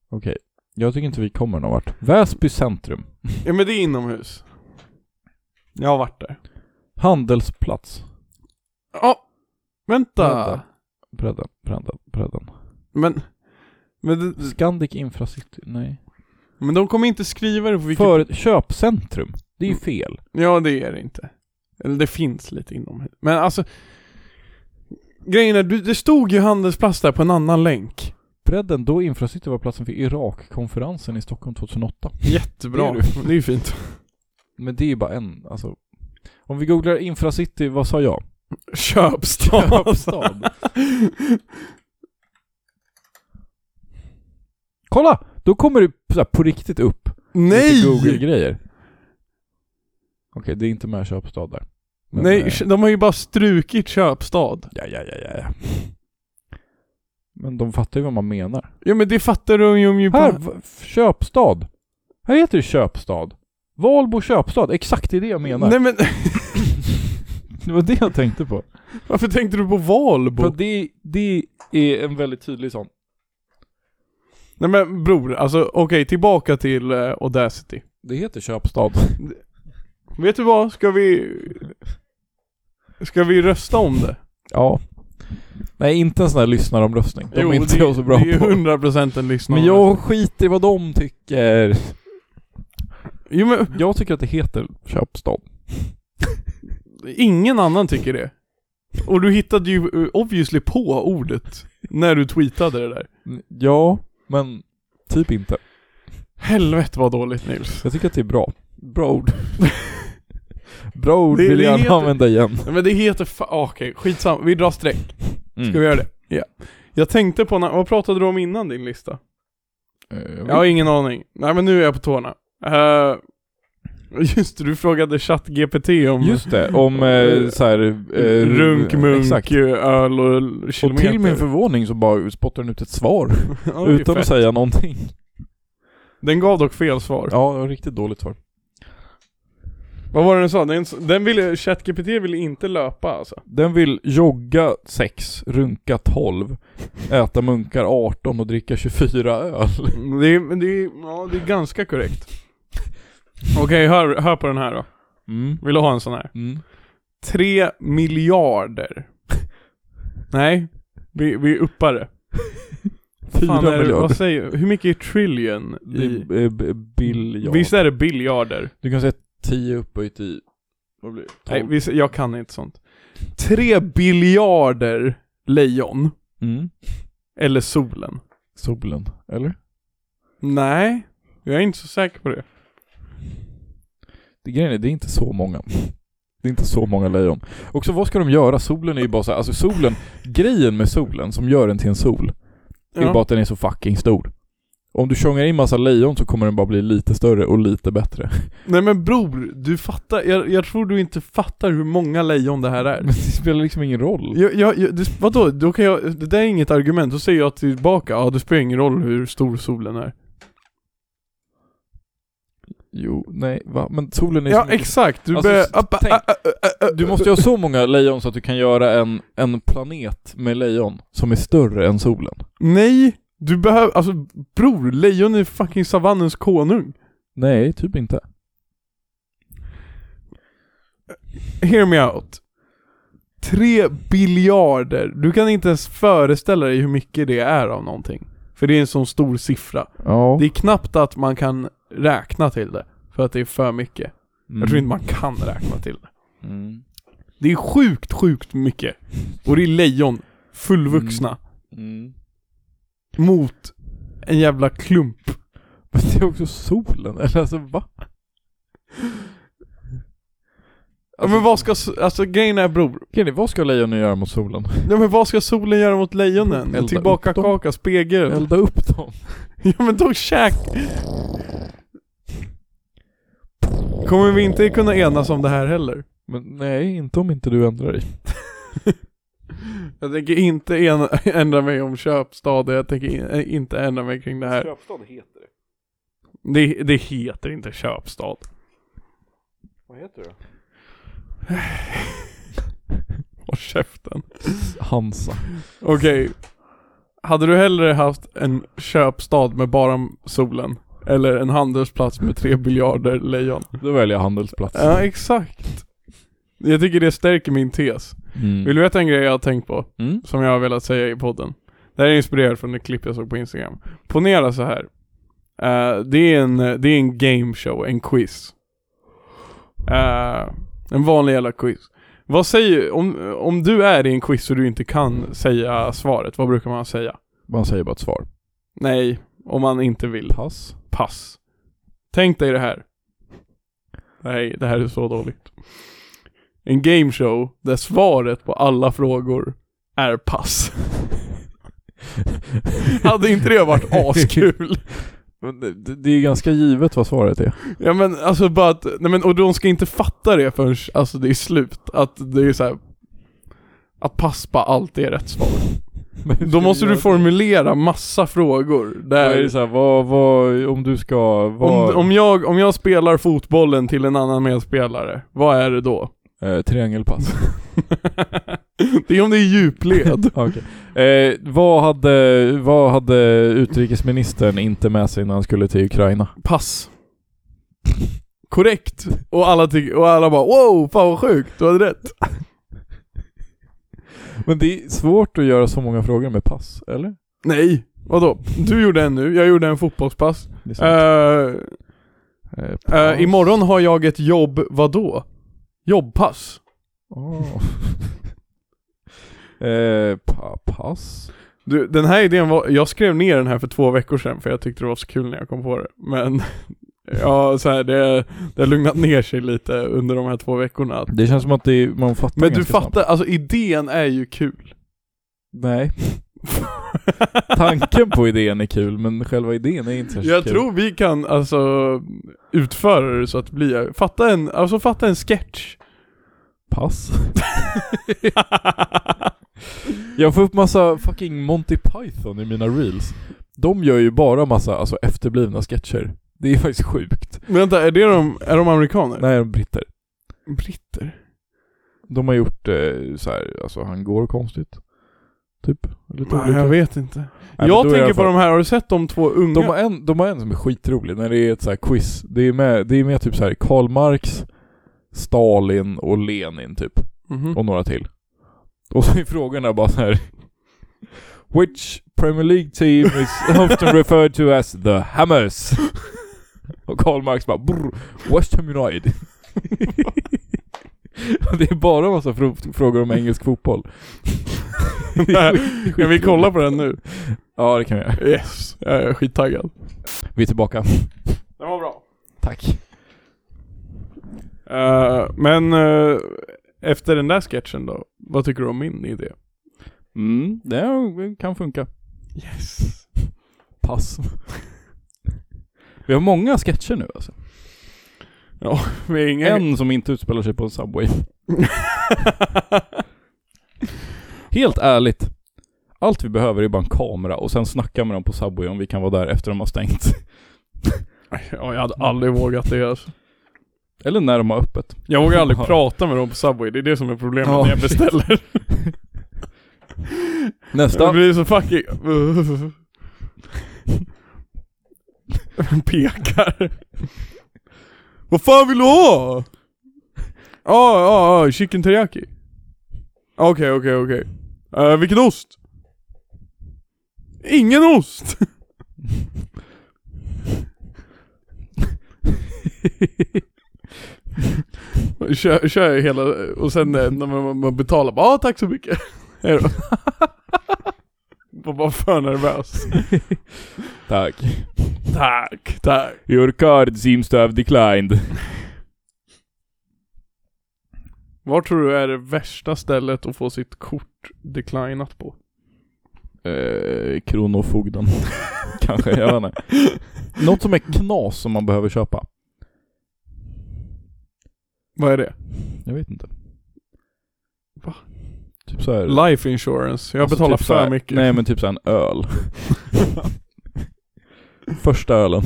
S1: Okej. Jag tycker inte vi kommer någon vart. Väsby centrum.
S2: Ja men det är inomhus. Jag har varit där.
S1: Handelsplats.
S2: Ja, vänta.
S1: Vänta. Bredden, bredden, bredden.
S2: Men, men, det-
S1: Scandic Infracity. Nej.
S2: men de kommer inte skriva det på vilket...
S1: För köpcentrum. Det är ju
S2: typ- Mm.
S1: fel.
S2: Ja, det är det inte. Eller det finns lite inomhus. Men alltså, grejen är, du- det stod ju handelsplats där på en annan länk.
S1: Bredden, då Infracity var platsen för Irakkonferensen i Stockholm 2008.
S2: Jättebra.
S1: Det
S2: Det är ju fint.
S1: Men det är ju bara en, alltså. Om vi googlar Infracity, vad sa jag? [LAUGHS]
S2: Köpstad.
S1: Köpstad. Kolla! Då kommer det så här på riktigt upp.
S2: Nej!
S1: Lite Google-grejer. Okej, det är inte med köpstad där. Men,
S2: Nej,
S1: eh,
S2: de har ju bara strukit köpstad.
S1: ja, ja, ja, ja, ja. Men de fattar ju vad man menar.
S2: Ja men det fattar de ju om ju
S1: Här,
S2: på...
S1: v- köpstad. Här heter det köpstad. Valbo köpstad, exakt det är det jag menar.
S2: Nej men [LAUGHS]
S1: Det var det jag tänkte på.
S2: varför tänkte du på Valbo?
S1: För det, det är en väldigt tydlig sån.
S2: Nej men bror, alltså okej tillbaka till eh, Audacity.
S1: Det heter köpstad.
S2: Vet du vad? Ska vi... Ska vi rösta om [LAUGHS] det?
S1: Ja. Nej, inte en sån här lyssnaromröstning. De är inte jag så bra
S2: det är
S1: på.
S2: 100% en lyssnare.
S1: Men jag skiter i vad de tycker.
S2: Jo men,
S1: Jag tycker att det heter köpstad.
S2: ingen annan tycker det. Och du hittade ju eh, obviously på ordet när du tweetade det där.
S1: Ja, men typ inte.
S2: Helvete vad dåligt Nils.
S1: Jag tycker att det är bra. Bra ord. bra ord
S2: Det-
S1: vill
S2: det
S1: jag
S2: heter-
S1: använda igen.
S2: Nej, Men det heter fa- ah, okej, skitsamma. Vi drar streck.
S1: Mm.
S2: Ska vi göra det? Ja. Jag tänkte på, na- vad pratade du om innan din lista?
S1: Eh,
S2: Jag har ingen aning. Nej men nu är jag på tårna. Eh, [LAUGHS] just det, du frågade ChatGPT om
S1: Just det, om eh, så här, eh,
S2: runk, munk,
S1: Exakt.
S2: öl och l-
S1: Och
S2: kilometer.
S1: till min förvåning så bara spottar den ut ett svar.
S2: [LAUGHS] Ja, det är
S1: utan att
S2: fett.
S1: säga någonting.
S2: Den gav dock fel svar.
S1: Ja, det var riktigt dåligt svar.
S2: Vad var det den sa? Den, den ville, ChatGPT ville inte löpa alltså.
S1: Den vill jogga 6, runka 12, äta munkar 18 och dricka 24 öl.
S2: Det är, men det är, ja det är
S1: [LAUGHS]
S2: ganska korrekt. Okej, hör, hör på den här då.
S1: Mm.
S2: Vill du ha en sån här?
S1: Mm.
S2: Tre miljarder. Nej, vi, vi uppar det.
S1: 4
S2: Fan, är det-
S1: miljarder.
S2: Vad säger, hur mycket är trillion i?
S1: Det är, eh, biljard.
S2: Visst är det biljarder?
S1: Du kan säga 10 upphöjt i... Vad blir det?
S2: Nej,
S1: 12.
S2: visst, jag kan inte sånt. Tre biljarder lejon.
S1: Mm.
S2: Eller solen.
S1: Solen, eller?
S2: Nej, jag är inte så säker på det.
S1: Det, grejen är, det är inte så många. Det är inte så många lejon. Också vad ska de göra? Solen är ju bara så här, alltså solen, grejen med solen som gör den till en sol, är ju bara
S2: Ja.
S1: att den är så fucking stor. Om du tjongar in massa lejon så kommer den bara bli lite större och lite bättre.
S2: Nej men bror, du fattar, jag, jag tror du inte fattar hur många lejon det här är.
S1: Men det spelar liksom ingen roll.
S2: Jag, jag, jag, det, vadå? Då kan jag, det där är inget argument, då säger jag tillbaka, ja det spelar ingen roll hur stor solen är.
S1: Jo, nej, va? Men solen är så
S2: Ja
S1: mycket
S2: exakt, du
S1: Alltså,
S2: börjar...
S1: s- tänk- Du måste ju ha så många lejon så att du kan göra en, en planet med lejon som är större än solen.
S2: Nej! Du behöver, alltså bror, lejon är fucking savannens konung.
S1: Nej, typ inte.
S2: Hear me out. Tre biljarder. Du kan inte ens föreställa dig hur mycket det är av någonting. För det är en sån stor siffra.
S1: Ja.
S2: Det är knappt att man kan räkna till det. För att det är för mycket. Jag tror inte man kan räkna till det.
S1: Mm.
S2: Det är sjukt, sjukt mycket. Och det är lejon. Fullvuxna.
S1: Mm.
S2: Mot en jävla klump.
S1: Men det är också solen, eller alltså va?
S2: Ja, men vad ska, s- alltså grejen är bror.
S1: Kenny, vad ska lejonen göra mot solen? [LAUGHS]
S2: Ja, men vad ska solen göra mot lejonen?
S1: Elda upp
S2: Tillbaka
S1: dem.
S2: kaka, spegel.
S1: Elda upp dem?
S2: Ja men då käk... Kommer vi inte kunna enas om det här heller?
S1: Men nej, inte om inte du ändrar dig.
S2: Jag tänker inte ena, [LAUGHS] ändra mig om köpstad och jag tänker in, inte ändra mig kring det här.
S1: Köpstad heter det.
S2: Det, det heter
S1: [LAUGHS]
S2: inte köpstad.
S1: Vad heter det
S2: Håll käften.
S1: Hansa.
S2: Okej. Hade du hellre haft en köpstad med bara solen? Eller en handelsplats med tre biljarder lejon?
S1: Då väljer jag handelsplats.
S2: [LAUGHS] Ja, exakt. Jag tycker det stärker min tes.
S1: Mm.
S2: Vill du veta en grej jag har tänkt på?
S1: Mm.
S2: som jag har velat säga i podden. Det här är inspirerat från ett klipp jag såg på Instagram. Ponera så här. Eh, det, är en, det är en game show, en quiz. Eh, en vanlig jävla quiz. Vad säger, om, om du är i en quiz och du inte kan säga svaret, vad brukar man säga?
S1: Man säger
S2: [LAUGHS]
S1: bara ett svar.
S2: Nej, om man inte vill.
S1: Pass.
S2: Pass. Tänk dig det här. Nej, det här är så dåligt. En game show där svaret på alla frågor är pass. Hade inte
S1: [LAUGHS]
S2: det varit askul?
S1: Men det, det- det är ganska givet vad svaret är.
S2: Ja men alltså bara att, nej men och de ska inte fatta det förrän alltså det är slut. Att det är så här. Att pass på allt är rätt svar.
S1: Men hur ska
S2: Då måste
S1: göra
S2: du
S1: det?
S2: formulera massa frågor
S1: Då
S2: där
S1: är det så här, vad, vad, om du ska, vad,
S2: om, om, jag, om jag spelar fotbollen till en annan medspelare, vad är det då? [LAUGHS]
S1: eh, triangelpass.
S2: det är om det är djupled.
S1: Okej. eh, vad, hade, vad hade utrikesministern inte med sig när han skulle till Ukraina?
S2: Pass. Korrekt. Och alla, tycker, och alla bara wow, fan vad sjukt, du hade rätt.
S1: Men det är svårt att göra så många frågor med pass, eller?
S2: Nej, vadå? Du gjorde en nu, jag gjorde en fotbollspass.
S1: Det är sant.
S2: Uh,
S1: Eh, [LAUGHS]
S2: uh, imorgon har jag ett jobb, vadå? Jobbpass.
S1: Åh. eh, pa, pass?
S2: Du, den här idén var, jag skrev ner den här för två veckor sedan för jag tyckte det var så kul när jag kom på det. Men [LAUGHS] ja, så här, det, det har lugnat ner sig lite under de här två veckorna. Att,
S1: Det känns som att det är, man fattar
S2: men du
S1: ganska
S2: fattar,
S1: snabbt.
S2: alltså idén är ju kul.
S1: Nej. [LAUGHS] Tanken på idén är kul, men själva idén är inte särskilt
S2: Jag
S1: kul.
S2: tror vi kan alltså utföra det så att det blir, fatta en, alltså fatta en
S1: [LAUGHS]
S2: sketch.
S1: Pass? Jag får upp massa fucking Monty Python i mina reels. De gör ju bara massa alltså, efterblivna sketcher. Det är faktiskt sjukt.
S2: Vänta, är det de, är de amerikaner?
S1: Nej, de är britter.
S2: Britter?
S1: De har gjort eh, så här, alltså han går konstigt. Typ. Lite
S2: Nej,
S1: olika.
S2: jag vet inte.
S1: men då
S2: jag
S1: är i alla
S2: tänker på
S1: fall-
S2: de här, har du sett de två unga?
S1: De har, en, de har en som är skitrolig när det är ett så här quiz. Det är med, det är med typ så här Karl Marx, Stalin och Lenin typ.
S2: Mhm.
S1: Och några till. Och så är frågorna bara så här. Which Premier League team is often referred to as the Hammers? Och Karl Marx bara brr, West Ham United. Och det är bara en massa fro- frågor om engelsk [LAUGHS] fotboll. Det är skit-
S2: Kan vi kolla på den nu?
S1: Ja, det kan vi göra.
S2: Yes, jag är skittaggad.
S1: Vi är tillbaka.
S2: Den var bra.
S1: Tack.
S2: men eh, efter den där sketchen då, vad tycker du om min idé? [LAUGHS]
S1: Mm, det kan funka.
S2: Yes.
S1: [LAUGHS] Pass. Vi har många sketcher nu alltså.
S2: Vi
S1: [LAUGHS]
S2: är inga...
S1: En som inte utspelar sig på en Subway. Helt ärligt. Allt vi behöver är bara en kamera och sen snacka med dem på Subway om vi kan vara där efter de har stängt. [LAUGHS]
S2: Ja, jag hade aldrig vågat det alltså.
S1: Eller när de har öppet.
S2: Jag vågar aldrig prata med dem på Subway, det är det som är problemet
S1: Ja,
S2: när jag
S1: shit.
S2: beställer.
S1: Nästa.
S2: Jag blir så fucking... [LAUGHS] Pekar. Vad fan vill du ha? Ja, ja, ja, chicken teriyaki. Okej, okej, okej. Eh, Vilken ost? Ingen ost! [LAUGHS] kör, kör hela, och sen eh, när man, man betalar, bara ah, tack så mycket. [LAUGHS] Hej då. Var bara
S1: [LAUGHS]
S2: för nervös.
S1: Tack.
S2: Tack, tack.
S1: Your card seems to have declined.
S2: Var tror du är det värsta stället att få sitt kort declinat på?
S1: Eh, kronofogden. [LAUGHS] Kanske, jag vet inte. Något som är knas som man behöver köpa.
S2: Vad är det?
S1: Jag vet inte.
S2: Va?
S1: Typ så här.
S2: Life insurance. Jag
S1: alltså
S2: betalar
S1: typ så
S2: för
S1: här-
S2: mycket. [LAUGHS]
S1: Nej men typ såhär en öl. Första ölen.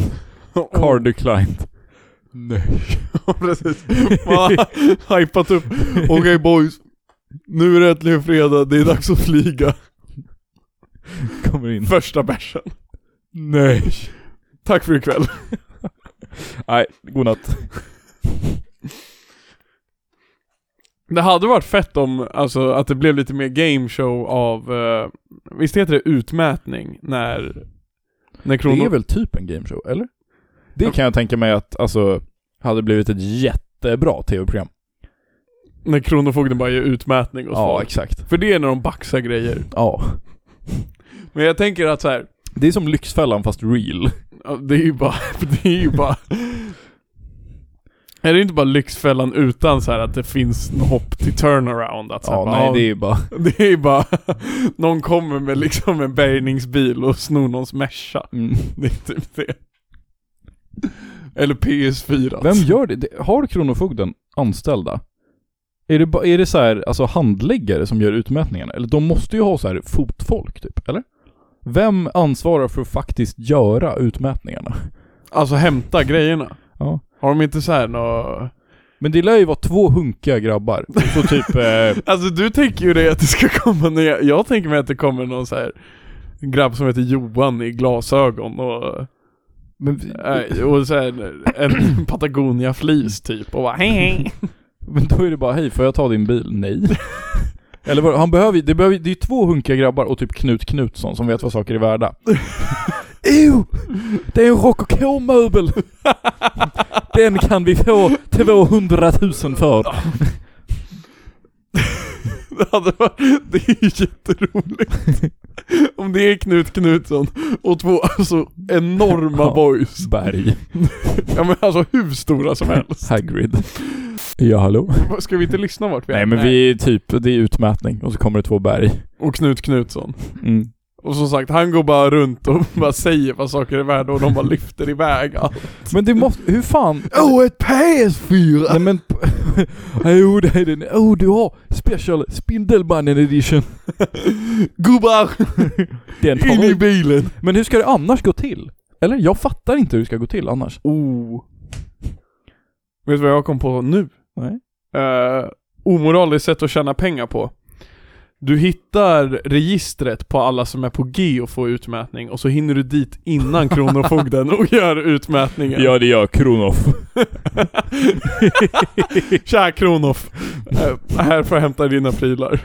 S2: Oh,
S1: Card declined. [LAUGHS] Nej.
S2: Ja, [LAUGHS] precis. Man
S1: [LAUGHS]
S2: har hypat upp. Okej boys. Nu är det äntligen fredag, det är dags att flyga.
S1: Kommer in.
S2: Första bärsen.
S1: Nej.
S2: Tack för ikväll.
S1: [LAUGHS] Nej, godnatt.
S2: Det hade varit fett om, alltså att det blev lite mer gameshow av, eh, visst heter det utmätning när, när
S1: Det är
S2: kronor...
S1: väl typ en gameshow, eller? Det kan jag tänka mig att, alltså, hade blivit ett jättebra tv-program.
S2: När Kronofogden bara gör utmätning och så.
S1: Ja, exakt.
S2: För det är när de baxar grejer.
S1: Ja.
S2: Men jag tänker att så här,
S1: Det är som Lyxfällan fast real.
S2: ja, det är ju bara, [LAUGHS] det är ju bara... Är det inte bara Lyxfällan utan så här att det finns något hopp till turnaround? Att så här,
S1: Ja,
S2: bara,
S1: nej det är ju bara...
S2: [LAUGHS] det är ju bara... Någon kommer med liksom en bärgningsbil och snor någons Merca.
S1: Mm.
S2: Det är typ det. Eller PS4 alltså.
S1: Vem gör det? Det- Har Kronofogden anställda? Är det, ba- är det så här, alltså handläggare som gör utmätningarna? Eller de måste ju ha så här fotfolk typ, eller? Vem ansvarar för att faktiskt göra utmätningarna?
S2: Alltså hämta grejerna.
S1: Ja.
S2: Har de inte så här nå...
S1: Men det lär ju vara två hunkiga grabbar. Så typ, eh,
S2: Alltså du tänker ju dig att det ska [LAUGHS] komma ner. Jag tänker mig att det kommer någon så här grabb som heter Johan i glasögon och,
S1: [LAUGHS] men,
S2: äh, och så här, en [CLEARS THROAT] Patagonia-flis typ och bara hej hej.
S1: men då är det bara hej, får jag ta din bil? Nej. Eller vad, han behöver ju- det behöver ju- det är ju två hunkiga grabbar och typ Knut Knutsson som vet vad saker är
S2: [LAUGHS]
S1: värda. Ew! Det är en rokoko-möbel!
S2: [LAUGHS]
S1: Den kan vi få 200 000 för.
S2: [LAUGHS] Alltså, Det, hade varit, det är ju jätteroligt. [LAUGHS] Om det är Knut Knutsson och två alltså enorma
S1: Ja.
S2: boys.
S1: Berg.
S2: Ja men alltså hur stora som [LAUGHS] helst.
S1: Hagrid. Ja, hallå?
S2: Ska vi inte lyssna vart vi är?
S1: Nej men vi är typ, det är utmätning och så kommer det två berg.
S2: Och Knut Knutsson.
S1: Mm.
S2: Och som sagt, han går bara runt och [LAUGHS] bara säger vad saker är värda och de bara lyfter [LAUGHS] iväg allt.
S1: Men det måste, hur fan?
S2: Åh, ett PS4!
S1: Nej men... [LAUGHS] Jo det är den, oh du har special Spindelmannen edition.
S2: Gubbar,
S1: Den tar
S2: in i
S1: vi.
S2: bilen!
S1: Men hur ska det annars gå till? Eller? Jag fattar inte hur det ska gå till annars.
S2: Oh. Vet du vad jag kom på nu?
S1: Nej.
S2: Uh, omoraliskt sätt att tjäna pengar på. Du hittar registret på alla som är på G och får utmätning och så hinner du dit innan Kronofogden och gör utmätningen.
S1: det gör Kronoff.
S2: [LAUGHS] Tja Kronof! Eh, här får jag hämta dina prylar.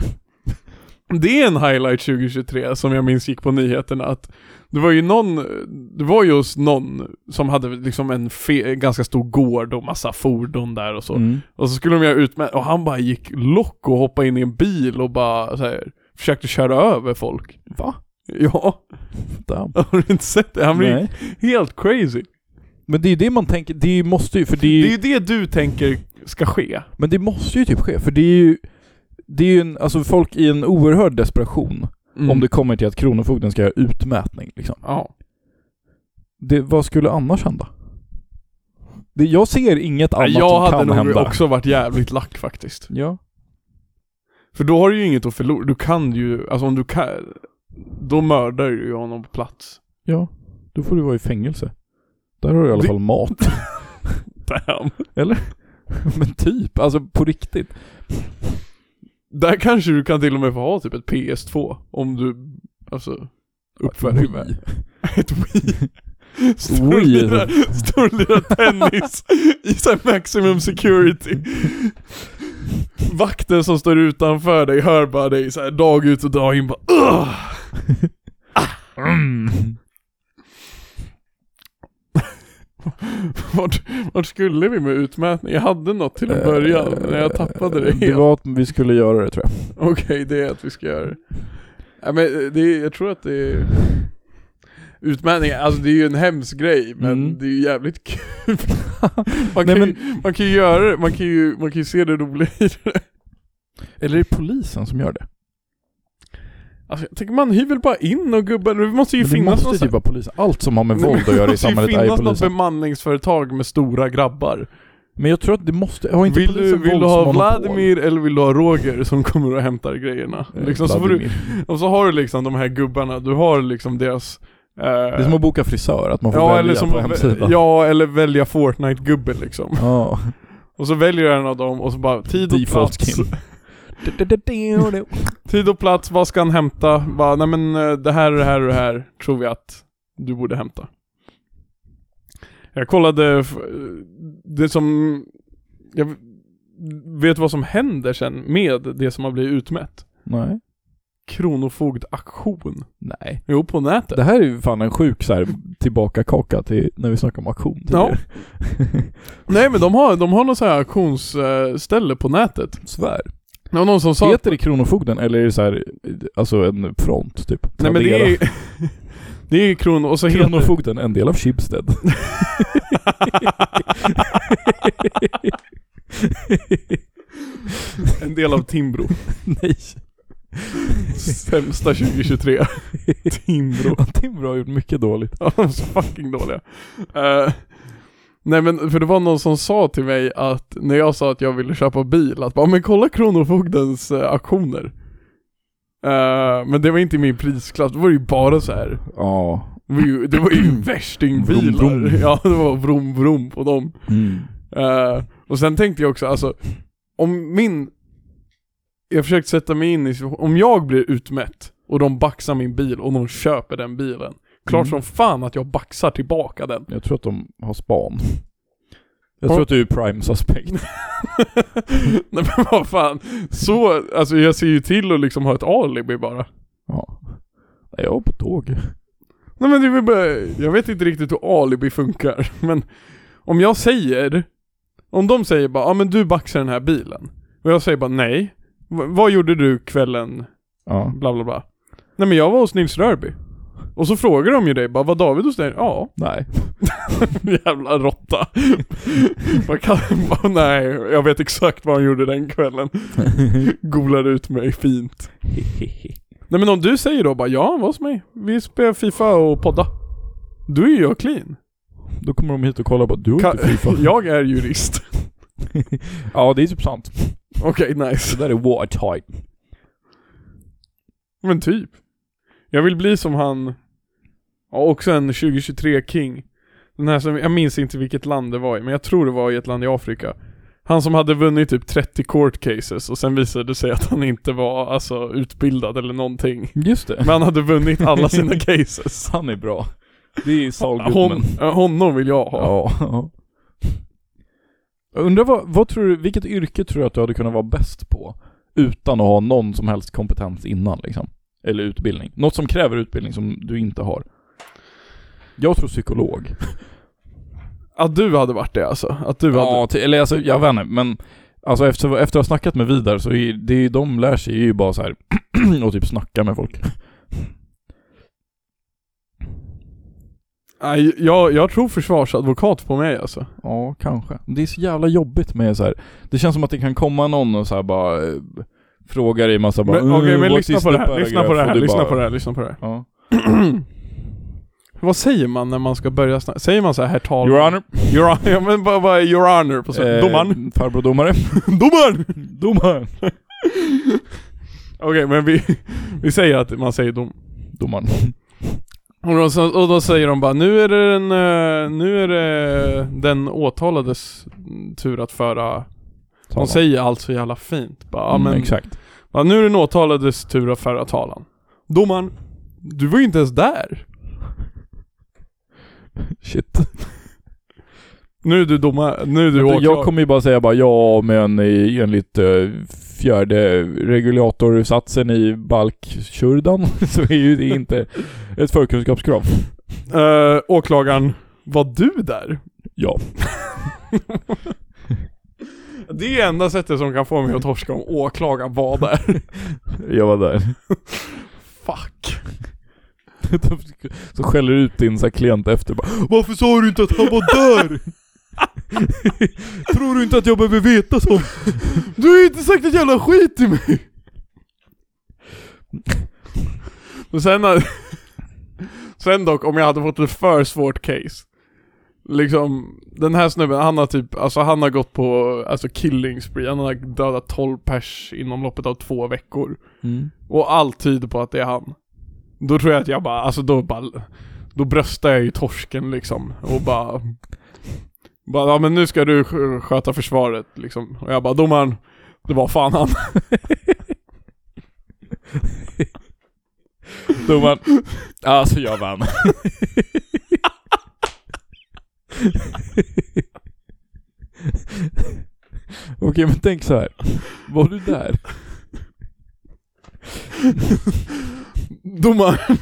S2: Det är en highlight 2023 som jag minns gick på nyheterna att det var ju någon, det var just någon som hade liksom en fe, ganska stor gård och massa fordon där och så.
S1: Mm.
S2: Och så skulle de göra ut med, och han bara gick lock och hoppade in i en bil och bara så här, försökte köra över folk.
S1: Va?
S2: Ja, [LAUGHS]
S1: Damn.
S2: har du inte sett det? Han blir
S1: Nej.
S2: helt crazy.
S1: Men det är ju det man tänker, det måste ju, för det är
S2: Det är
S1: ju,
S2: ju det du tänker ska ske.
S1: men det måste ju typ ske, för det är ju, det är ju en, alltså folk i en oerhörd desperation om det kommer till att Kronofogden ska göra utmätning liksom.
S2: Ja.
S1: Det, vad skulle annars hända? Det, jag ser inget annat
S2: jag
S1: som
S2: hade
S1: kan
S2: nog
S1: hända.
S2: också varit jävligt lack faktiskt.
S1: Ja.
S2: För då har du ju inget att förlora, du kan ju, alltså om du kan, då mördar du ju honom på plats.
S1: Ja. Då får du vara i fängelse. Där har du i alla
S2: Det-
S1: fall mat. [LAUGHS]
S2: Damn.
S1: Men typ, alltså på riktigt.
S2: Där kanske du kan till och med få ha typ ett PS2, om du, alltså, uppför dig med. Ett Wii. Står och
S1: Wii.
S2: lirar- står och lirar tennis i så här maximum security. Vakten som står utanför dig hör bara dig så här dag ut och dag in bara "Ugh!"
S1: Mm.
S2: vart, vart skulle vi med utmätning? Jag hade något till en början, men jag tappade det
S1: Eh, Det
S2: helt.
S1: var att vi skulle göra det tror jag.
S2: Okej, det är att vi ska göra det. Nej, men det är, jag tror att det är... Utmaning, alltså det är ju en hemsk grej, men
S1: Mm.
S2: det är ju
S1: [LAUGHS]
S2: jävligt kul. man,
S1: Nej,
S2: kan ju, man kan ju göra det, man kan ju, man kan ju se det roliga i det.
S1: Eller är det polisen som gör det?
S2: Alltså, jag tänker man hyr väl bara in och gubbar, det måste ju
S1: Men det
S2: finnas
S1: måste typ
S2: någon
S1: vara polisen. Allt som har med
S2: Nej, men
S1: våld att göra i
S2: sån här-
S1: samhället
S2: Det
S1: är ju
S2: måste ju finnas något
S1: polisen.
S2: bemanningsföretag med stora grabbar.
S1: Men jag tror att det måste, har inte
S2: Vill du,
S1: polisen
S2: vill du ha
S1: våldsmonopol?
S2: Vladimir eller vill du ha Roger som kommer och hämtar grejerna?
S1: Eh,
S2: Liksom, så får du,
S1: Vladimir.
S2: och så har du liksom de här gubbarna, du har liksom deras... eh,
S1: Det är som att boka frisör, att man får
S2: Ja
S1: välja
S2: eller, som,
S1: på hemsidan.
S2: ja, eller välja Fortnite-gubbe liksom.
S1: [LAUGHS] Ja.
S2: Och så väljer en av dem och så bara tid och
S1: Default
S2: plats.
S1: skin.
S2: [LAUGHS] Tid och plats, vad ska han hämta? Bara, nej men eh, det här, det här och det här tror vi att du borde hämta. Jag kollade, f- det som, jag vet vad som händer sen med det som har blivit utmätt.
S1: Nej.
S2: Kronofogdaktion.
S1: Nej.
S2: Jo, på
S1: [LAUGHS]
S2: nätet.
S1: Det här är ju fan en sjuk så här tillbaka-kaka till när vi snackar om auktion tidigare.
S2: Nej men de har, de har något så här auktionsställe på nätet.
S1: [LAUGHS] Svär.
S2: Det var någon som sa...
S1: Heter det Kronofogden eller är det så här, alltså en front typ?
S2: Nej men det
S1: Tradera.
S2: är [LAUGHS] Det är ju kron och så heter
S1: [LAUGHS] Kronofogden, en del av Schibsted.
S2: [LAUGHS]
S1: [LAUGHS]
S2: en del av Timbro.
S1: Nej.
S2: [LAUGHS] Sämsta 2023. [LAUGHS]
S1: [LAUGHS]
S2: Timbro.
S1: Timbro har gjort mycket dåligt.
S2: [LAUGHS] Ja, de är så fucking dåliga. Eh, nej men för det var någon som sa till mig att när jag sa att jag ville köpa bil att bara men kolla Kronofogdens uh, auktioner. Eh, men det var inte i min prisklass, det var ju bara så här.
S1: Ja.
S2: Det var ju, det var [CLEARS THROAT] ju värstingbilar.
S1: Vroom, vroom.
S2: Ja det var vrom vrom på dem.
S1: Mm.
S2: Eh, och sen tänkte jag också, alltså, om min... Jag försökte sätta mig in i, om jag blir utmätt och de baxar min bil och de köper den bilen. Klart
S1: Mm.
S2: som fan att jag baxar tillbaka den. [LAUGHS]
S1: Jag tror att de har span. Jag
S2: Ja.
S1: tror att du är prime suspect.
S2: [LAUGHS] Nej men vad fan. Så, alltså jag ser ju till att liksom ha ett alibi bara.
S1: Ja. Nej, jag var på tåg.
S2: Nej men det är väl bara, jag vet inte riktigt hur alibi funkar, [LAUGHS] men om jag säger, om de säger bara ja ah, men du baxar den här bilen. Och jag säger bara nej. V- vad gjorde du kvällen
S1: Ja.
S2: bla bla bla. Nej men jag var hos Nils Rörby. Och så frågar de ju dig bara, var David hos dig? Ja. [LAUGHS]
S1: Nej. [LAUGHS]
S2: Jävla råtta. [LAUGHS] Man kan, bara, nej, jag vet exakt vad han gjorde
S1: [LAUGHS]
S2: den kvällen. Golade ut mig fint. Nej men om du säger då bara, ja han var hos mig. Vi spelar Fifa och podda. Då är ju jag clean.
S1: Då kommer de hit och kollar på du har
S2: Ka-
S1: inte Fifa.
S2: [LAUGHS] jag är jurist.
S1: Ja, det är typ sant.
S2: Okej,
S1: Det
S2: nice.
S1: där är watertight.
S2: Men typ. Jag vill bli som han, ja, också en 2023-king. Den här som, jag minns inte vilket land det var i, men jag tror det var i ett land i Afrika. Han som hade vunnit typ 30 court cases och sen visade det sig att han inte var alltså utbildad eller någonting.
S1: Just det.
S2: Men han hade vunnit
S1: [LAUGHS]
S2: alla sina cases.
S1: Han är bra. Det är Saul
S2: Hon,
S1: Goodman.
S2: eh, honom vill jag ha.
S1: Ja. Jag undrar vad, vad tror du, vilket yrke tror du att du hade kunnat vara bäst på? Utan att ha någon som helst kompetens innan liksom. Eller utbildning. Något som kräver utbildning som du inte har. Jag tror psykolog.
S2: Att du hade varit det alltså. Att du hade...
S1: Ja, ty- eller alltså jag vet inte, men alltså efter, efter att ha snackat med Vidar så är det de lär sig ju bara så här [CLEARS THROAT] och typ snacka med folk.
S2: Nej, jag, jag tror försvarsadvokat på mig alltså.
S1: Ja, kanske. Det är så jävla jobbigt med så här. Det känns som att det kan komma någon och så här bara eh, fråga dig massa bara
S2: Men, Okej,
S1: "Mm,
S2: men
S1: what
S2: lyssna
S1: is
S2: på
S1: the
S2: det här, lyssna på
S1: paragraph?"
S2: det
S1: Och
S2: här,
S1: du
S2: lyssna
S1: bara-
S2: på det här, lyssna på det här.
S1: Ja.
S2: [CLEARS THROAT] Vad säger man när man ska börja snacka? Säger man så här, herr talman?
S1: Your honor.
S2: Your honor. [LAUGHS] Ja men vad vad är your honor på svenska?
S1: Eh,
S2: Domaren? [LAUGHS]
S1: Farbror domare.
S2: Domaren!
S1: Domaren.
S2: Okej men vi, [LAUGHS] vi säger att man säger dom.
S1: Domaren.
S2: Och då, och då säger de bara nu är det den, eh, nu är det den åtalades tur att föra De
S1: Talan.
S2: säger allt så jävla fint. Bara, ja,
S1: Mm,
S2: men,
S1: Exakt.
S2: Ja, nu är den åtalades tur att föra talan. Domaren, du var ju inte ens där.
S1: Shit.
S2: Nu är du domare, nu är du åklagare.
S1: Jag kommer ju bara säga bara ja, men eh, enligt eh, fjärde regulatorsatsen i balkkördan [LAUGHS] så är ju det inte ett förkunskapskrav.
S2: Eh, åklagaren, var du där?
S1: Ja.
S2: Det är enda sättet som kan få mig att torska om åklagaren var
S1: [LAUGHS]
S2: där.
S1: Jag var där. [LAUGHS]
S2: Fuck.
S1: Så skäller du ut din så här klient efter bara Varför sa du inte att han var
S2: [LAUGHS]
S1: där? Tror du inte att jag behöver veta sånt?
S2: Du har ju inte sagt ett jävla skit till mig! Men sen... eh, Sen dock, om jag hade fått ett för svårt case Liksom, den här snubben, han har typ, alltså han har gått på, alltså killing spree, han har dödat 12 pers inom loppet av två veckor
S1: Mm.
S2: Och allt tyder på att det är han Då tror jag att jag bara, alltså då bara Då bröstar jag ju torsken liksom och bara Bara, ja men nu ska du sk- sköta försvaret liksom Och jag bara, domaren Det var fan han [LAUGHS]
S1: Domaren. Alltså jag vann. [LAUGHS] Okej men tänk så här. Var du där?
S2: Domaren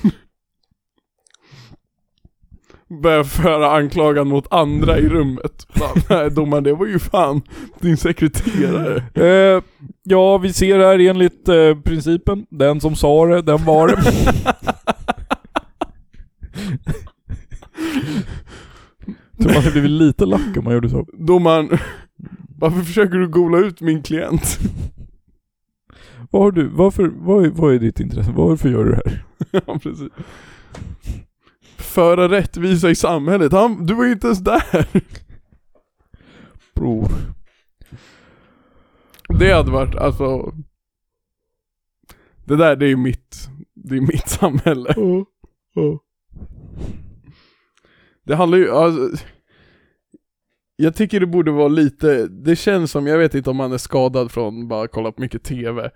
S2: Börjar föra anklagan mot andra i rummet bara, Nej domaren det var ju fan din sekreterare
S1: Eh, ja, vi ser här enligt eh, principen. Den som sa det, den var det. [LAUGHS] Tror man hade blivit lite lack om man gjorde så.
S2: Domaren Varför försöker du gola ut min klient?
S1: Vad har du, varför, vad är, vad är ditt intresse? Varför gör du det här?
S2: [LAUGHS] Ja precis Föra rättvisa i samhället, han, du var ju inte ens där
S1: Bror.
S2: Det hade varit, alltså Det där det är ju mitt, det är mitt samhälle Det handlar ju, alltså, Jag tycker det borde vara lite, det känns som, jag vet inte om man är skadad från bara kolla på mycket TV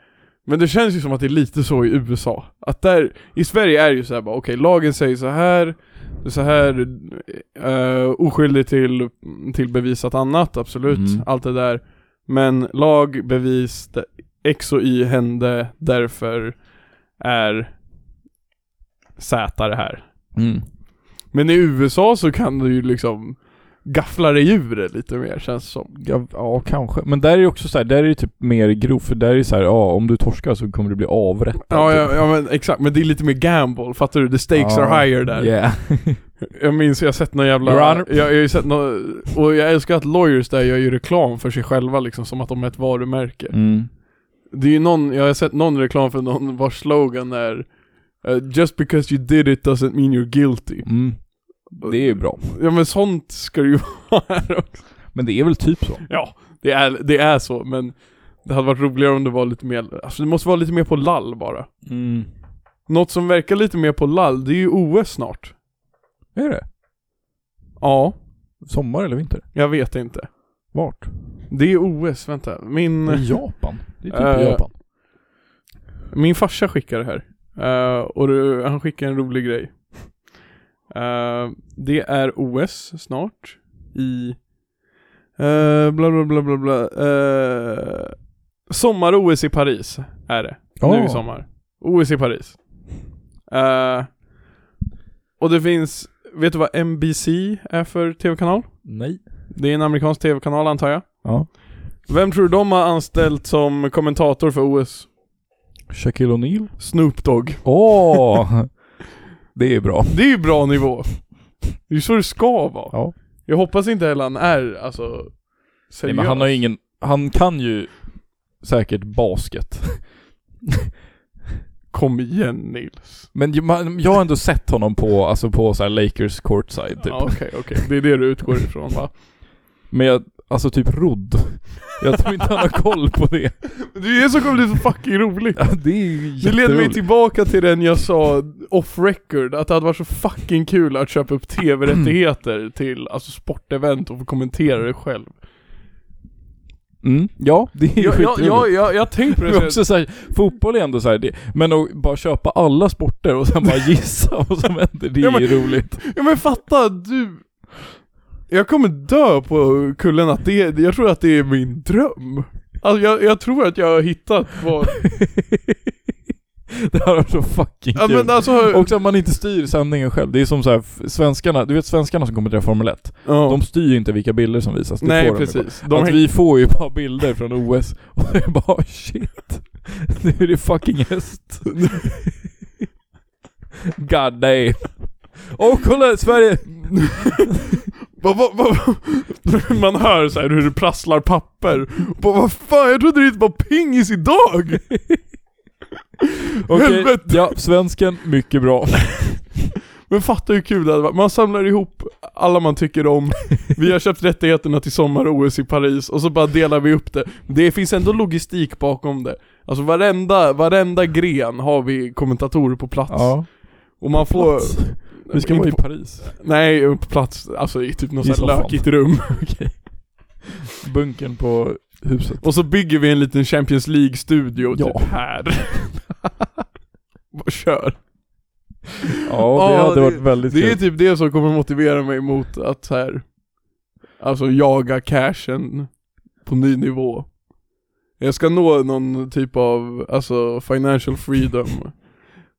S2: Men det känns ju som att det är lite så i USA Att där, i Sverige är det ju såhär bara okej, lagen säger så här så här eh, oskyldig till, till bevisat annat, absolut,
S1: Mm.
S2: allt det där Men lag, bevis, det- X och Y hände, därför är Z det här
S1: Mm.
S2: men i USA så kan du ju liksom gaffla dig ur det lite mer känns det som.
S1: Ja, ja, kanske. Men där är det också så här, där är det typ mer grovt. För där är det så här, ja, om du torskar så kommer du bli avrättad.
S2: Ja,
S1: typ.
S2: ja, ja men exakt, men det är lite mer gamble, fattar du? The stakes
S1: Ja,
S2: are higher där.
S1: Yeah. [LAUGHS]
S2: Jag minns, jag har sett någon jävla...
S1: Your
S2: Jag,
S1: honor.
S2: jag har ju sett någon, och jag älskar att lawyers där gör ju reklam för sig själva liksom, som att de är ett varumärke.
S1: Mm.
S2: Det är ju någon, jag har sett någon reklam för någon vars slogan är eh, Just because you did it doesn't mean you're guilty.
S1: Mm. Det är ju bra.
S2: Ja men sånt ska det ju [LAUGHS] vara här också.
S1: Men det är väl typ så.
S2: Ja, det är, det är så, men det hade varit roligare om det var lite mer, alltså det måste vara lite mer på lall bara.
S1: Mm.
S2: Något som verkar lite mer på lall, det är ju OS snart.
S1: Är det?
S2: Ja,
S1: Sommar eller vinter?
S2: jag vet inte.
S1: Vart?
S2: Det är OS, vänta. Min,
S1: I Japan? Det är typ
S2: Eh,
S1: i Japan.
S2: min farsa skickar det här. Eh, och det, han skickar en rolig grej. Eh, det är OS snart i uh, bla bla bla bla bla. eh, Sommar-OS i Paris är det. nu i sommar. OS i Paris. Eh, och det finns, vet du vad NBC är för tv-kanal?
S1: Nej.
S2: Det är en amerikansk tv-kanal antar jag.
S1: Ja.
S2: Vem tror du de har anställt som kommentator för OS?
S1: Shaquille O'Neal?
S2: Snoop Dogg.
S1: Åh! [LAUGHS] det är bra.
S2: Det är ju bra nivå. Det är ju så det ska vara.
S1: Ja.
S2: Jag hoppas inte heller han är, alltså,
S1: Nej,
S2: seriös.
S1: men han har ju ingen... Han kan ju säkert basket.
S2: Kom igen Nils.
S1: Men ju- man- jag har ändå sett honom på, alltså på så här Lakers courtside typ.
S2: Ja, Okej, okej. Det är det du utgår ifrån va?
S1: Men jag, alltså typ rodd. Jag tror inte han har koll på det.
S2: Det är så kommer det är så fucking roligt.
S1: Ja, det är ju
S2: Det leder mig
S1: jätteroligt.
S2: tillbaka till den jag sa off record, att det hade varit så fucking kul att köpa upp tv-rättigheter till alltså sportevent och få kommentera det själv.
S1: Mm, ja, det är ju
S2: Jag, jag,
S1: skitroligt.
S2: jag, jag, jag tänkte på
S1: Men
S2: det sen.
S1: också så här, fotboll är ändå så här, det, men att bara köpa alla sporter och [LAUGHS] sen bara gissa vad som händer, det
S2: Ja,
S1: är
S2: men-
S1: ju roligt.
S2: Ja men fatta du. Jag kommer dö på kullen att det, jag tror att det är min dröm. Alltså jag, jag tror att jag har hittat
S1: [LAUGHS]
S2: vad,
S1: Det här var så fucking
S2: ja,
S1: kul.
S2: men alltså,
S1: Också att man inte styr sändningen själv. Det är som så här, f- svenskarna, du vet svenskarna som kommer till Formel 1?
S2: ja.
S1: De styr ju inte vilka bilder som visas. Det
S2: nej
S1: får de ju bara.
S2: precis. De
S1: att
S2: häng-
S1: vi får ju bara bilder från OS [LAUGHS] och det är bara shit. Nu är det fucking häst. God damn. Åh kolla Sverige!
S2: Vad- vad- vad- [LAUGHS] Man hör så här hur det prasslar papper. Bara, vad fan, jag trodde det var pingis idag!
S1: Okej,
S2: Helvete!
S1: ja svensken, mycket bra.
S2: Men fatta hur kul det hade varit. Man samlar ihop alla man
S1: [LAUGHS]
S2: tycker om. Vi har köpt rättigheterna till sommar-OS i Paris och så bara delar vi upp det. Det finns ändå logistik bakom det. Alltså varenda, varenda gren har vi kommentatorer på plats.
S1: Ja.
S2: Och man får...
S1: Plats. Vi ska vara i Paris. [LAUGHS]
S2: Nej, på plats, alltså i typ något
S1: I
S2: sånt
S1: soffan.
S2: lökigt rum.
S1: Bunkern på huset.
S2: Och så bygger vi en liten Champions League-studio
S1: Ja.
S2: typ
S1: [LAUGHS]
S2: här. Bara kör.
S1: Ja, det
S2: Ja,
S1: hade
S2: det-
S1: varit väldigt
S2: Det är
S1: kul.
S2: typ det som kommer motivera mig mot att så här, alltså jaga cashen på ny nivå. Jag ska nå någon typ av, alltså financial freedom.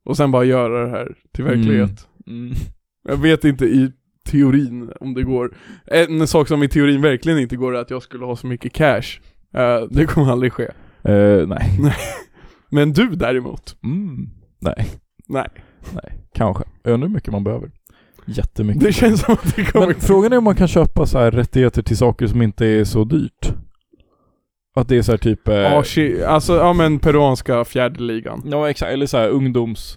S2: Och sen bara göra det här till
S1: Mm.
S2: verklighet.
S1: Mm.
S2: Jag vet inte i teorin om det går. En sak som i teorin verkligen inte går är att jag skulle ha så mycket cash. Eh, det kommer aldrig ske.
S1: Eh, nej.
S2: Men du däremot.
S1: Mm. Nej.
S2: Nej.
S1: Nej, kanske. Jag undrar hur mycket man behöver. Jättemycket.
S2: Det känns som att det kommer...
S1: Men frågan är om man kan köpa så här rättigheter till saker som inte är så dyrt. Att det är så här typ... eh,
S2: Ja, shit. alltså ja men peruanska fjärde ligan.
S1: ja, exakt. Eller så här ungdoms...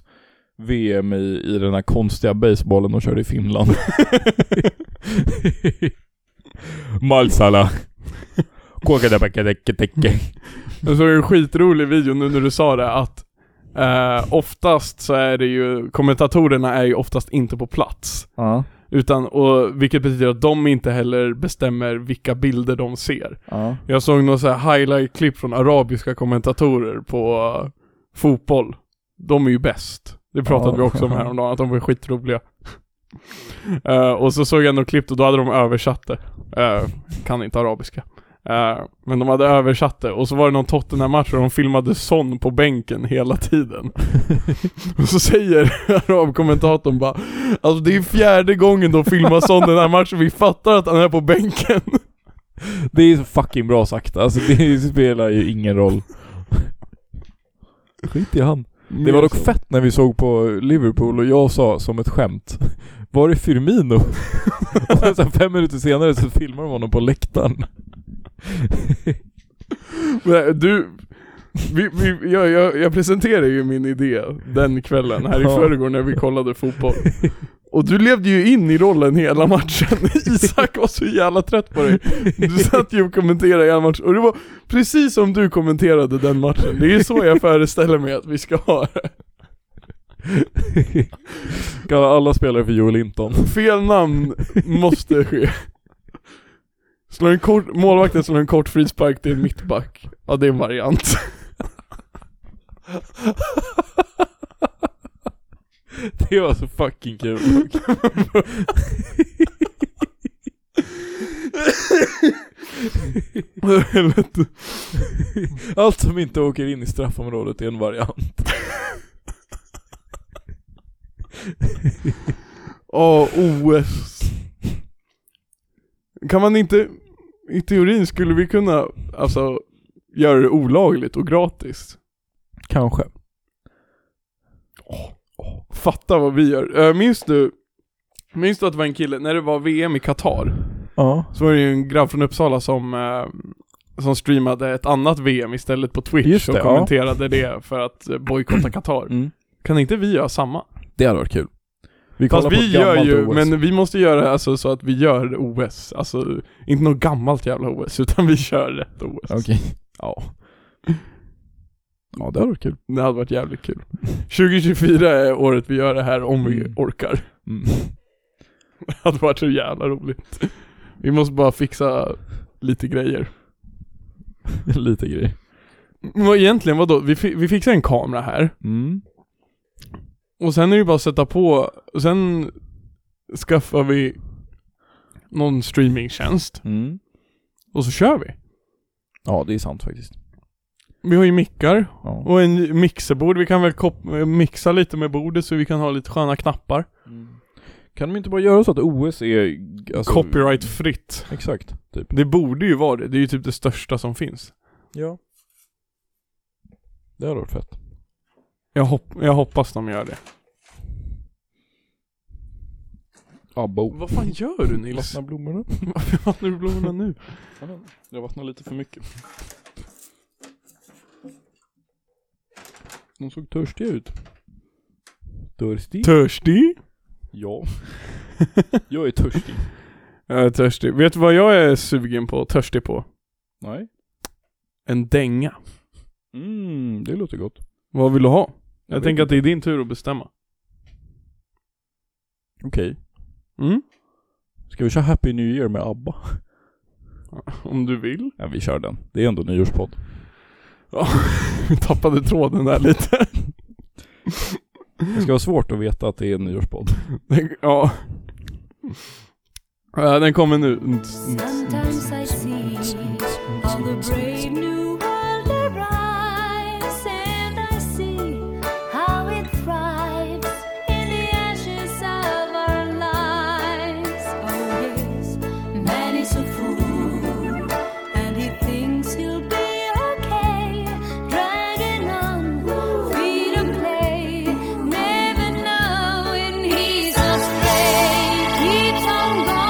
S1: VM i, i den här konstiga baseballen de körde i Finland. [LAUGHS] Malsala. Kåkadabakadeketeke.
S2: Jag såg en skitrolig video nu när du sa det att eh, oftast så är det ju, kommentatorerna är ju oftast inte på plats.
S1: Ja,
S2: Utan, och, vilket betyder att de inte heller bestämmer vilka bilder de ser.
S1: ja.
S2: Jag såg några så här highlight-klipp från arabiska kommentatorer på eh, fotboll. De är ju bäst. Det pratade
S1: Ja.
S2: vi också om häromdagen, att de var skitroliga. [LAUGHS] Eh, och så såg jag något klipp och då hade de översatt det. Eh, kan inte arabiska. Eh, men de hade översatt det och så var det någon Tottenham-match där de filmade Son på bänken hela tiden.
S1: [LAUGHS]
S2: och så säger arabkommentatorn bara Alltså det är fjärde gången de filmar Son den här matchen, vi fattar att han är på bänken.
S1: Det är så fucking bra sagt. Alltså det spelar ju ingen roll. Skit i han. Det var dock fett när vi såg på Liverpool och jag sa som ett skämt [LAUGHS] Var är Firmino? [LAUGHS] och sen så här fem minuter senare så filmar de honom på
S2: [LAUGHS]
S1: läktaren
S2: Nej, du, vi, vi, jag, jag, jag presenterade ju min idé den kvällen här i
S1: Ja.
S2: förrgår när vi kollade fotboll. Och du levde ju in i rollen hela matchen. [LAUGHS] Isak var så jävla trött på dig. Du satt ju och kommenterade hela matchen. Och det var precis som du kommenterade den matchen. Det är så jag föreställer mig att vi ska ha det.
S1: Kallar alla spelare för Joel Linton [LAUGHS]
S2: Fel namn måste ske. Slår en kort, målvakten slår en kort frispark till en mittback. Ja det är en variant. [LAUGHS]
S1: Det var så fucking kul
S2: Helvete.
S1: Allt som inte åker in i straffområdet är en variant
S2: Ja, OS. Kan man inte, i teorin skulle vi kunna, alltså, göra det olagligt och gratis?
S1: Kanske
S2: Fatta vad vi gör. Eh, Minns du, minns du att det var en kille, när det var VM i Qatar,
S1: Ja
S2: så var det ju en grabb från Uppsala som eh, som streamade ett annat VM istället på Twitch
S1: Just
S2: och
S1: det, ja.
S2: kommenterade det för att eh, bojkotta Qatar.
S1: Mm.
S2: Kan inte vi göra samma?
S1: Det hade varit kul. Vi
S2: Fast
S1: kollar på
S2: vi
S1: ett
S2: gör
S1: gammalt
S2: ju,
S1: OS.
S2: men vi måste göra alltså så att vi gör OS. Alltså, inte något gammalt jävla OS, [LAUGHS] utan vi kör rätt OS.
S1: Okej. Ja. Ja, det hade varit
S2: [LAUGHS]
S1: kul.
S2: Det hade varit jävligt kul. 2024 är året vi gör det här om vi
S1: Mm.
S2: orkar. [LAUGHS]
S1: Mm.
S2: Det hade varit så jävla roligt. Vi måste bara fixa lite grejer.
S1: Lite grejer.
S2: Men egentligen vadå? Vi, fi- vi fixar en kamera här.
S1: Mm.
S2: Och sen är det bara att sätta på, och sen skaffar vi någon streamingtjänst.
S1: Mm.
S2: Och så kör vi.
S1: Ja, det är sant faktiskt.
S2: Vi har ju mickar
S1: Ja.
S2: och en mixerbord. Vi kan väl kop- mixa lite med bordet så vi kan ha lite sköna knappar.
S1: Mm. Kan de inte bara göra så att OS är... Alltså,
S2: Copyrightfritt.
S1: Exakt, typ.
S2: Det borde ju vara det. Det är ju typ det största som finns.
S1: Ja. Det hade varit fett.
S2: Jag, hop- jag hoppas de gör det.
S1: Abbo.
S2: Vad fan gör du Nils?
S1: Vattna blommorna.
S2: [LAUGHS] Varför vattnar du blommorna nu?
S1: Jag vattnar lite för mycket. De såg törstiga ut. Törstig?
S2: Törstig?
S1: [LAUGHS] ja. jag är törstig.
S2: Jag är törstig. Vet du vad jag är sugen på? Törstig på?
S1: Nej.
S2: En dänga.
S1: Mm, det låter gott.
S2: Vad vill du ha? Jag,
S1: Jag vet
S2: tänker att
S1: inte.
S2: det är din tur att bestämma.
S1: Okej.
S2: Mm?
S1: Ska vi köra Happy New Year med ABBA?
S2: [LAUGHS] Om du vill.
S1: Ja, vi kör den. Det är ändå nyårspodd.
S2: Ja, [LAUGHS] vi tappade tråden där lite. [LAUGHS]
S1: Det ska vara svårt att veta att det är en nyårspodd.
S2: Den- ja. Ja, Den kommer nu.
S3: Sometimes I see all the brave new world arrives, and I see how it thrives in the ashes of our lives. Oh, yes, man is a fool, and he thinks he'll be okay, dragging on free to play, never knowing he's astray. Keeps on going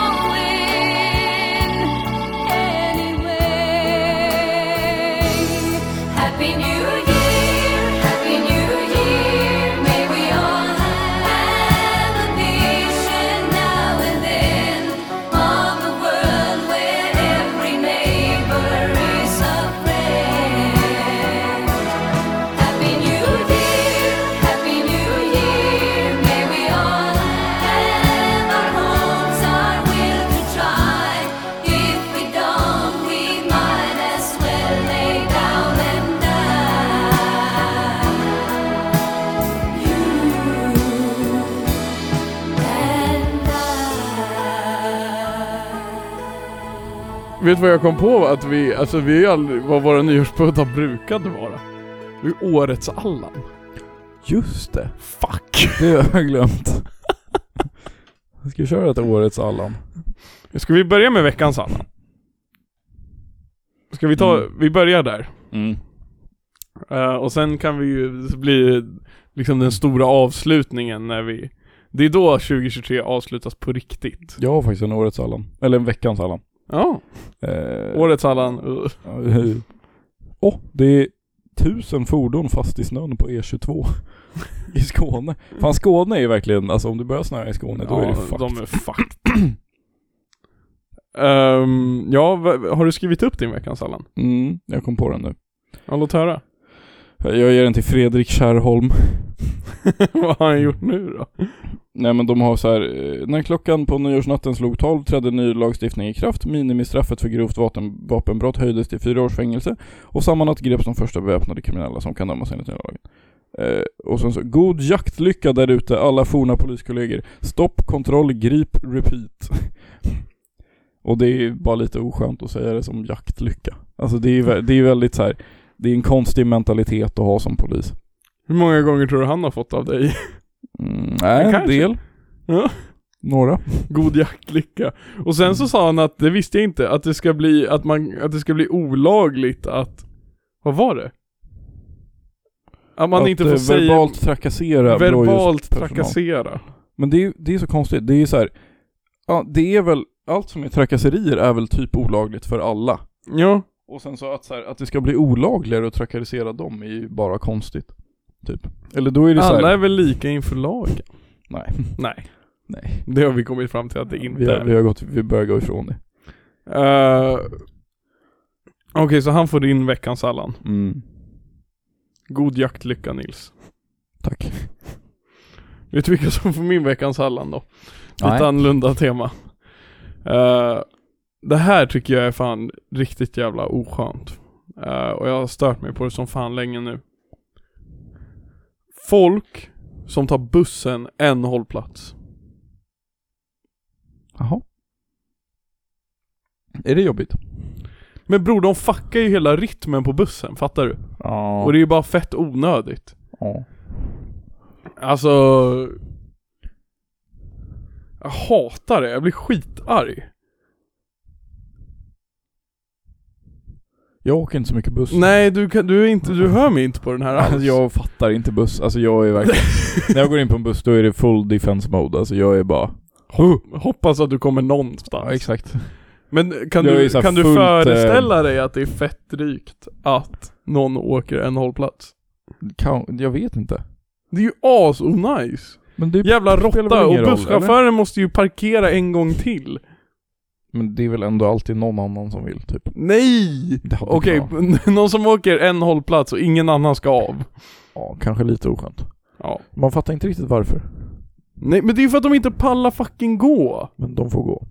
S3: anyway. Happy New Year, Happy New Year. May we all have a vision now and then of a world where every neighbor is a friend. Happy New Year, Happy New Year. May we all have our hopes, our will to try. If we don't, we might as well lay down and die. You and I.
S2: Vet du vad jag kom på? Att vi, alltså vi är ju aldrig vad våra nyårsbudar brukade vara. Vi är årets Allan.
S1: Just det.
S2: Fuck!
S1: Det har jag [LAUGHS] glömt. Jag ska köra ett årets Allan.
S2: Ska vi börja med veckans Allan? Ska vi ta, vi börjar där.
S1: Mm.
S2: Eh, och sen kan vi ju, så blir det liksom den stora avslutningen när vi Det är då 2023 avslutas på riktigt
S1: Jag har faktiskt en årets Allan. Eller en veckans Allan.
S2: Ja,
S1: Eh,
S2: årets Allan uh,
S1: Åh, oh, det är tusen fordon fast i snön på E22. [LAUGHS] I Skåne. Fan Skåne är ju verkligen, alltså om det börjar snöa i Skåne då är det fucked.
S2: de är fucked Ehm, Ja, va- har du skrivit upp din veckans Allan?
S1: Mm, jag kom på den nu.
S2: Ja, låt [LAUGHS] höra
S1: Jag ger den till Fredrik Kärrholm.
S2: Vad har han gjort nu då?
S1: Nej men de har så här, eh, när klockan på nyårsnatten slog 12 trädde ny lagstiftning i kraft, minimistraffet för grovt vapen, vapenbrott höjdes till fyra års fängelse och samma natt greps de första beväpnade kriminella som kan dömas enligt den här lagen. Eh, och sen så, god jaktlycka där ute alla forna poliskollegor. Stopp, kontroll, grip, repeat. [LAUGHS] och det är ju bara lite oskönt att säga det som jaktlycka. Alltså det är ju vä- det är ju väldigt så här, det är en konstig mentalitet att ha som polis.
S2: Hur många gånger tror du han har fått av dig? [LAUGHS]
S1: Mm, nej, en
S2: kanske.
S1: del.
S2: Ja.
S1: Några.
S2: God jaktlycka Och sen
S1: Mm.
S2: så sa han att, det visste jag inte, att det ska bli, att man, att det ska bli olagligt att Vad var det? Att man
S1: att
S2: inte
S1: eh,
S2: får säga
S1: verbalt trakassera blåljus.
S2: Verbalt
S1: personal.
S2: trakassera.
S1: Men det är, ju- det är så konstigt, det är ju så här, ja, det är väl, allt som är trakasserier är väl typ olagligt för alla.
S2: Ja,
S1: Och sen så att, så här, att det ska bli olagligare att trakassera dem är ju bara konstigt. Typ. Eller då är det så
S2: Alla
S1: här,
S2: är väl lika inför lagen?
S1: Nej.
S2: [LAUGHS] Nej,
S1: Nej.
S2: det har vi kommit fram till att det
S1: [LAUGHS]
S2: inte
S1: Vi, har-
S2: är.
S1: vi har gått, vi börjar gå ifrån det.
S2: Eh, Okej, så han får in veckans Allan.
S1: Mm.
S2: God jaktlycka Nils.
S1: Tack.
S2: Vet du vilka som får min veckans Allan då? Lite
S1: Nej.
S2: annorlunda tema. Eh, det här tycker jag är fan riktigt jävla oskönt. Eh, och jag har stört mig på det som fan länge nu. Folk som tar bussen en hållplats.
S1: Jaha. Är det jobbigt?
S2: Men bror, de fuckar ju hela rytmen på bussen, fattar du?
S1: Ja.
S2: Och det är ju bara fett onödigt.
S1: ja.
S2: Alltså... Jag hatar det, jag blir skitarg.
S1: Jag åker inte så mycket buss.
S2: Nej, du, kan, du, är inte, du hör mig inte på den här
S1: Alltså
S2: alls.
S1: jag fattar inte buss, alltså jag är [LAUGHS] verkligen När jag går in på en buss då är det full defense mode, alltså jag är bara Alltså.
S2: Ho- Hoppas att du kommer någonstans.
S1: Ja exakt
S2: Men kan,
S1: Jag är
S2: du,
S1: ju så här
S2: kan du
S1: fullt, eh,
S2: föreställa dig att det är fett drygt att någon åker en hållplats?
S1: kan, Jag vet inte
S2: Det är ju as nice.
S1: Men det
S2: Jävla
S1: spelar väl
S2: råtta och
S1: ingen roll,
S2: busschauffören måste ju parkera en gång till.
S1: Men det är väl ändå alltid någon annan som vill typ
S2: Nej!
S1: Det hade
S2: Okej,
S1: kunnat vara.
S2: [LAUGHS] någon som åker en hållplats och ingen annan ska av.
S1: Ja, kanske lite oskönt
S2: Ja.
S1: Man fattar inte riktigt varför
S2: Nej men det är ju för att de inte pallar fucking gå.
S1: Men de får gå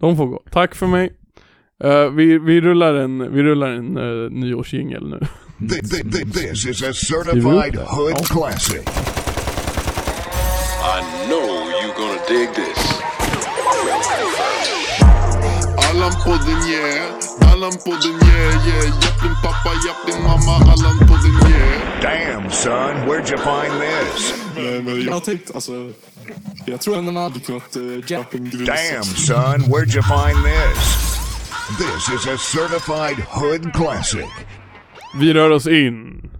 S2: De får gå. Tack för mig. Eh, vi, vi rullar en, vi rullar en uh, nyårsjingel nu.
S4: Th- th- th- This is a certified hood classic.
S5: I know you're gonna dig this.
S6: Allan podden yeah, Allan podden yeah yeah Japp din pappa, japp din mamma, Allan podden yeah
S4: Damn, son, where'd you find this?
S6: Men, men,
S7: Jag
S6: jag,
S7: har tänkt, alltså, jag tror ändå man hade kunnat uh, jappa en grund.
S4: Damn, son, where'd you find this? This is a certified hood classic.
S2: Vi rör oss in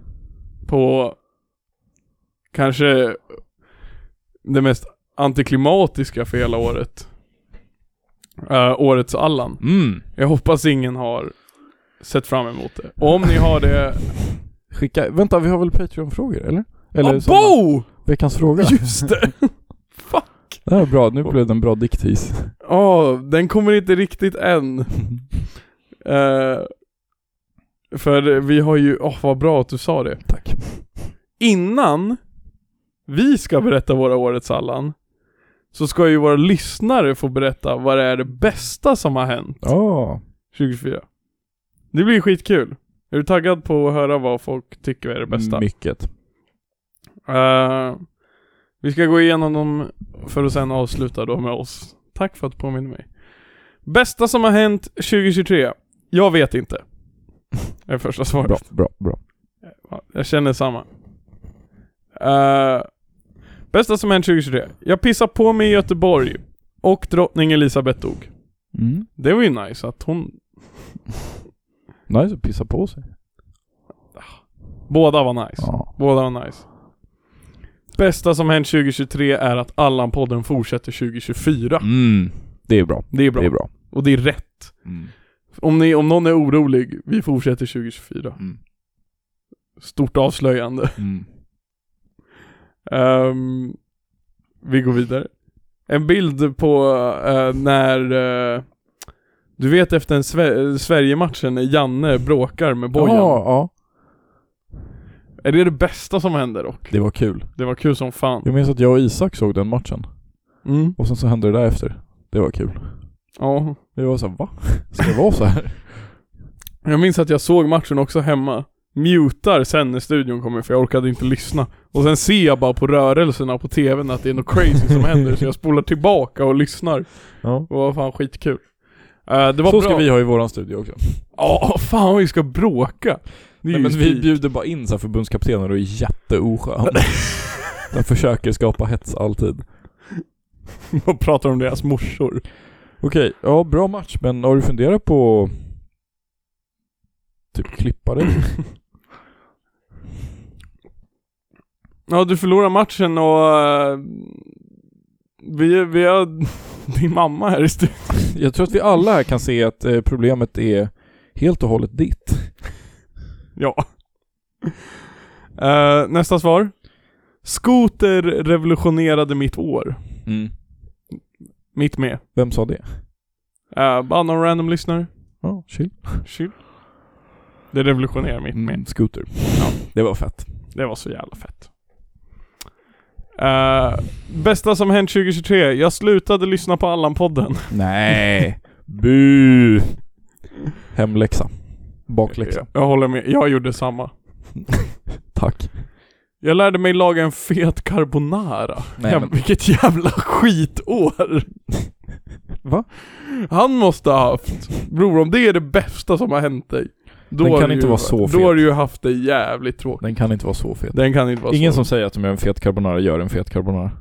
S2: på kanske det mest antiklimatiska för hela året. Eh, årets Allan.
S1: Mm
S2: Jag hoppas ingen har sett fram emot det. Och om ni har det...
S1: Skicka, vänta vi har väl Patreon-frågor eller? Eller
S2: Ah,
S1: sådana-
S2: bo!
S1: veckans fråga
S2: Just det! [LAUGHS] Fuck!
S1: Det här är bra, nu blev det en bra diktis
S2: Ja, den kommer inte riktigt än. Eh, för vi har ju... Åh, vad bra att du sa det.
S1: Tack
S2: innan vi ska berätta våra årets Allan, så ska ju våra lyssnare få berätta vad det är det bästa som har hänt
S1: Ja
S2: 2024. Det blir skitkul. Är du taggad på att höra vad folk tycker är det bästa?
S1: Mycket
S2: Eh, vi ska gå igenom dem för att sen avsluta då med oss. Tack för att du påminner mig. Bästa som har hänt 2023? Jag vet inte. [LAUGHS] Det är första svaret.
S1: Bra, bra, bra
S2: Ja, jag känner samma. Eh, bästa som hänt 2023. Jag pissade på mig i Göteborg och drottning Elisabeth dog.
S1: mm.
S2: Det var ju nice att hon...
S1: Nice att pissa på sig
S2: Båda var nice.
S1: Ja
S2: Båda var nice. Bästa som hänt 2023 är att Allan-podden fortsätter 2024.
S1: mm. Det är bra,
S2: Det är bra.
S1: det är bra
S2: Och det är rätt.
S1: Mm.
S2: Om, ni, om någon är orolig, vi fortsätter 2024.
S1: Mm.
S2: Stort avslöjande.
S1: Mm.
S2: Ehm, vi går vidare. En bild på eh, när eh, du vet efter en Sve- Sverige-matchen när Janne bråkar med Bojan.
S1: Ja, ja.
S2: Är det det bästa som händer dock?
S1: Det var kul.
S2: Det var kul som fan.
S1: Jag minns att jag och Isak såg den matchen.
S2: Mm.
S1: Och sen så hände det där efter. Det var kul.
S2: Ja.
S1: Det var såhär, va? Ska det vara så här?
S2: Jag minns att jag såg matchen också hemma. Mutar sen när studion kommer för jag orkade inte lyssna. Och sen ser jag bara på rörelserna på tvn att det är något crazy som händer så jag spolar tillbaka och lyssnar.
S1: [LAUGHS] Ja.
S2: Det var fan skitkul. Eh, det var
S1: Så
S2: bra.
S1: ska vi ha i våran studio också.
S2: Ja, fan vi ska bråka! Det är
S1: Nej,
S2: ju
S1: men vi
S2: skit.
S1: bjuder bara in så här förbundskaptener och är [LAUGHS] jätteoskön. De försöker skapa hets alltid.
S2: och pratar om deras morsor.
S1: Okej, ja bra match men har du funderat på typ klippa [LAUGHS] dig?
S2: Ja, du förlorar matchen och... eh, vi, vi har [LAUGHS] din mamma här i studion.
S1: Jag tror att vi alla här kan se att eh, problemet är helt och hållet ditt.
S2: [LAUGHS] Ja. Eh, nästa svar. Skoter revolutionerade mitt år.
S1: Mm.
S2: Mitt med.
S1: Vem sa det?
S2: Eh, bara någon random lyssnare.
S1: Ja, chill.
S2: Chill. Det revolutionerar mitt med.
S1: Mm, scooter. Ja, det var fett.
S2: Det var så jävla fett. Eh, bästa som hänt 2023. Jag slutade lyssna på Allan-podden.
S1: Nej. Bu. Hemläxa. Bakläxa.
S2: Jag håller med. Jag gjorde samma.
S1: Tack.
S2: Jag lärde mig laga en fet carbonara.
S1: Nej,
S2: ja,
S1: men-
S2: Vilket jävla skitår!
S1: Va?
S2: Han måste ha haft... Bror, om det är det bästa som har hänt dig. Då
S1: Den
S2: har
S1: kan
S2: du
S1: inte
S2: ju,
S1: vara så
S2: Då
S1: fet.
S2: har du ju haft det jävligt tråkigt.
S1: Den kan inte vara så fet.
S2: Den kan inte vara
S1: Ingen
S2: så.
S1: som säger att de gör en fet carbonara gör en fet carbonara.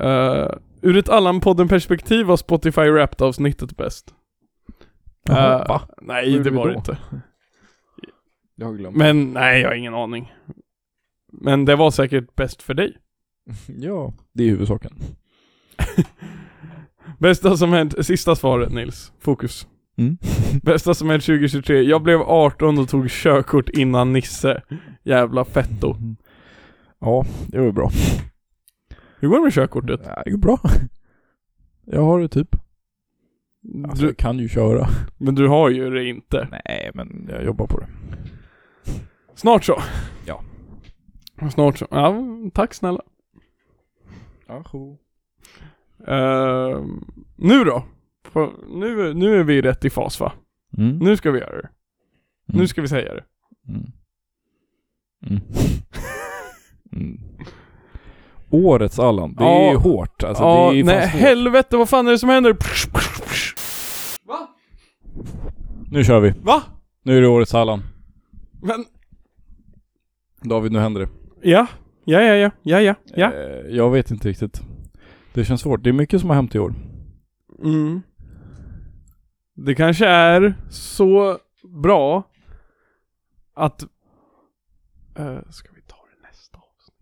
S2: Eh, ur ett Allan-podden-perspektiv var Spotify Wrapped-avsnittet bäst.
S1: Jaha,
S2: Eh,
S1: va?
S2: Nej,
S1: gjorde
S2: det
S1: vi
S2: var
S1: då?
S2: det inte.
S1: Jag har glömt.
S2: Men nej, jag har ingen aning. Men det var säkert bäst för dig.
S1: Ja, det är huvudsaken.
S2: Bästa som hänt, sista svaret Nils. Fokus.
S1: [LAUGHS] Mm.
S2: Bästa som hänt 2023. Jag blev 18 och tog körkort innan Nisse. Jävla fetto.
S1: Ja, det var ju bra.
S2: Hur går det med körkortet?
S1: Ja, det går bra. Jag har det typ. Alltså,
S2: Du,
S1: jag kan ju köra.
S2: men du har ju det inte.
S1: Nej, men jag jobbar på det.
S2: Snart så.
S1: Ja.
S2: Snart så. Ja, tack snälla. Eh, nu då? På, nu, nu är vi rätt i fas va?
S1: Mm.
S2: Nu ska vi göra det. Nu
S1: Mm.
S2: ska vi säga det.
S1: Mm. Mm. [LAUGHS] Mm. Årets Allan, det är
S2: Ja.
S1: hårt. Alltså,
S2: ja,
S1: det är
S2: nej
S1: nej, hårt.
S2: helvete vad fan är det som händer?
S1: Nu kör vi.
S2: Va?
S1: Nu är det årets Allan.
S2: Men,
S1: David, nu händer det.
S2: ja. Ja, ja, ja, ja, ja, ja.
S1: Eh, jag vet inte riktigt. Det känns svårt. Det är mycket som har hänt i år.
S2: Mm. Det kanske är så bra att... Eh, ska vi ta det nästa avsnitt?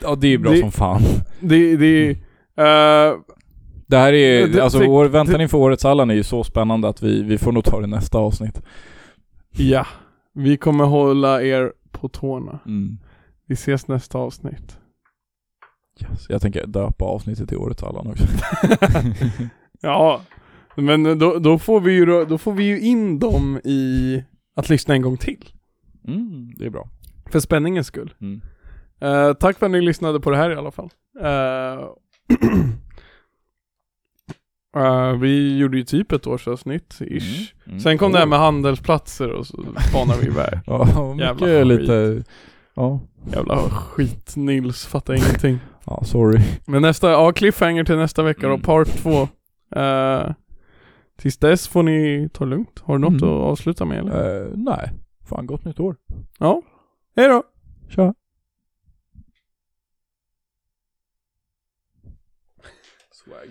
S1: Ja, det är bra
S2: Det-
S1: som fan.
S2: Det, det, eh,
S1: Det här är,
S2: Det-
S1: alltså
S2: det-
S1: vår väntan inför årets Allan är ju så spännande att vi, vi får nog ta det nästa avsnitt.
S2: ja. Vi kommer hålla er på tårna.
S1: Mm.
S2: Vi ses nästa avsnitt.
S1: Yes. Jag tänker döpa avsnittet till årets Allan också.
S2: ja. Men då, då, får vi ju, då, då får vi ju in dem i att lyssna en gång till.
S1: Mm, det är bra.
S2: För spänningens skull.
S1: Mm.
S2: Eh, tack för att ni lyssnade på det här i alla fall. Eh, [CLEARS THROAT] eh, vi gjorde ju typ ett årsavsnitt, ish.
S1: Mm.
S2: Sen kom
S1: Oh.
S2: det här med handelsplatser och så spanade vi
S1: [LAUGHS]
S2: iväg.
S1: Ja,
S2: Jävla
S1: mycket lite... Ja.
S2: Jävla skit-Nils, fattar ingenting.
S1: ja, sorry.
S2: Men nästa, ja cliffhanger till nästa vecka då,
S1: Mm.
S2: part två. Eh, tills dess får ni ta det lugnt. Har du något
S1: Mm.
S2: att avsluta med eller?
S1: Eh, nej. Fan, gott nytt år.
S2: Ja. Hej då!
S1: Tja.
S2: Swag.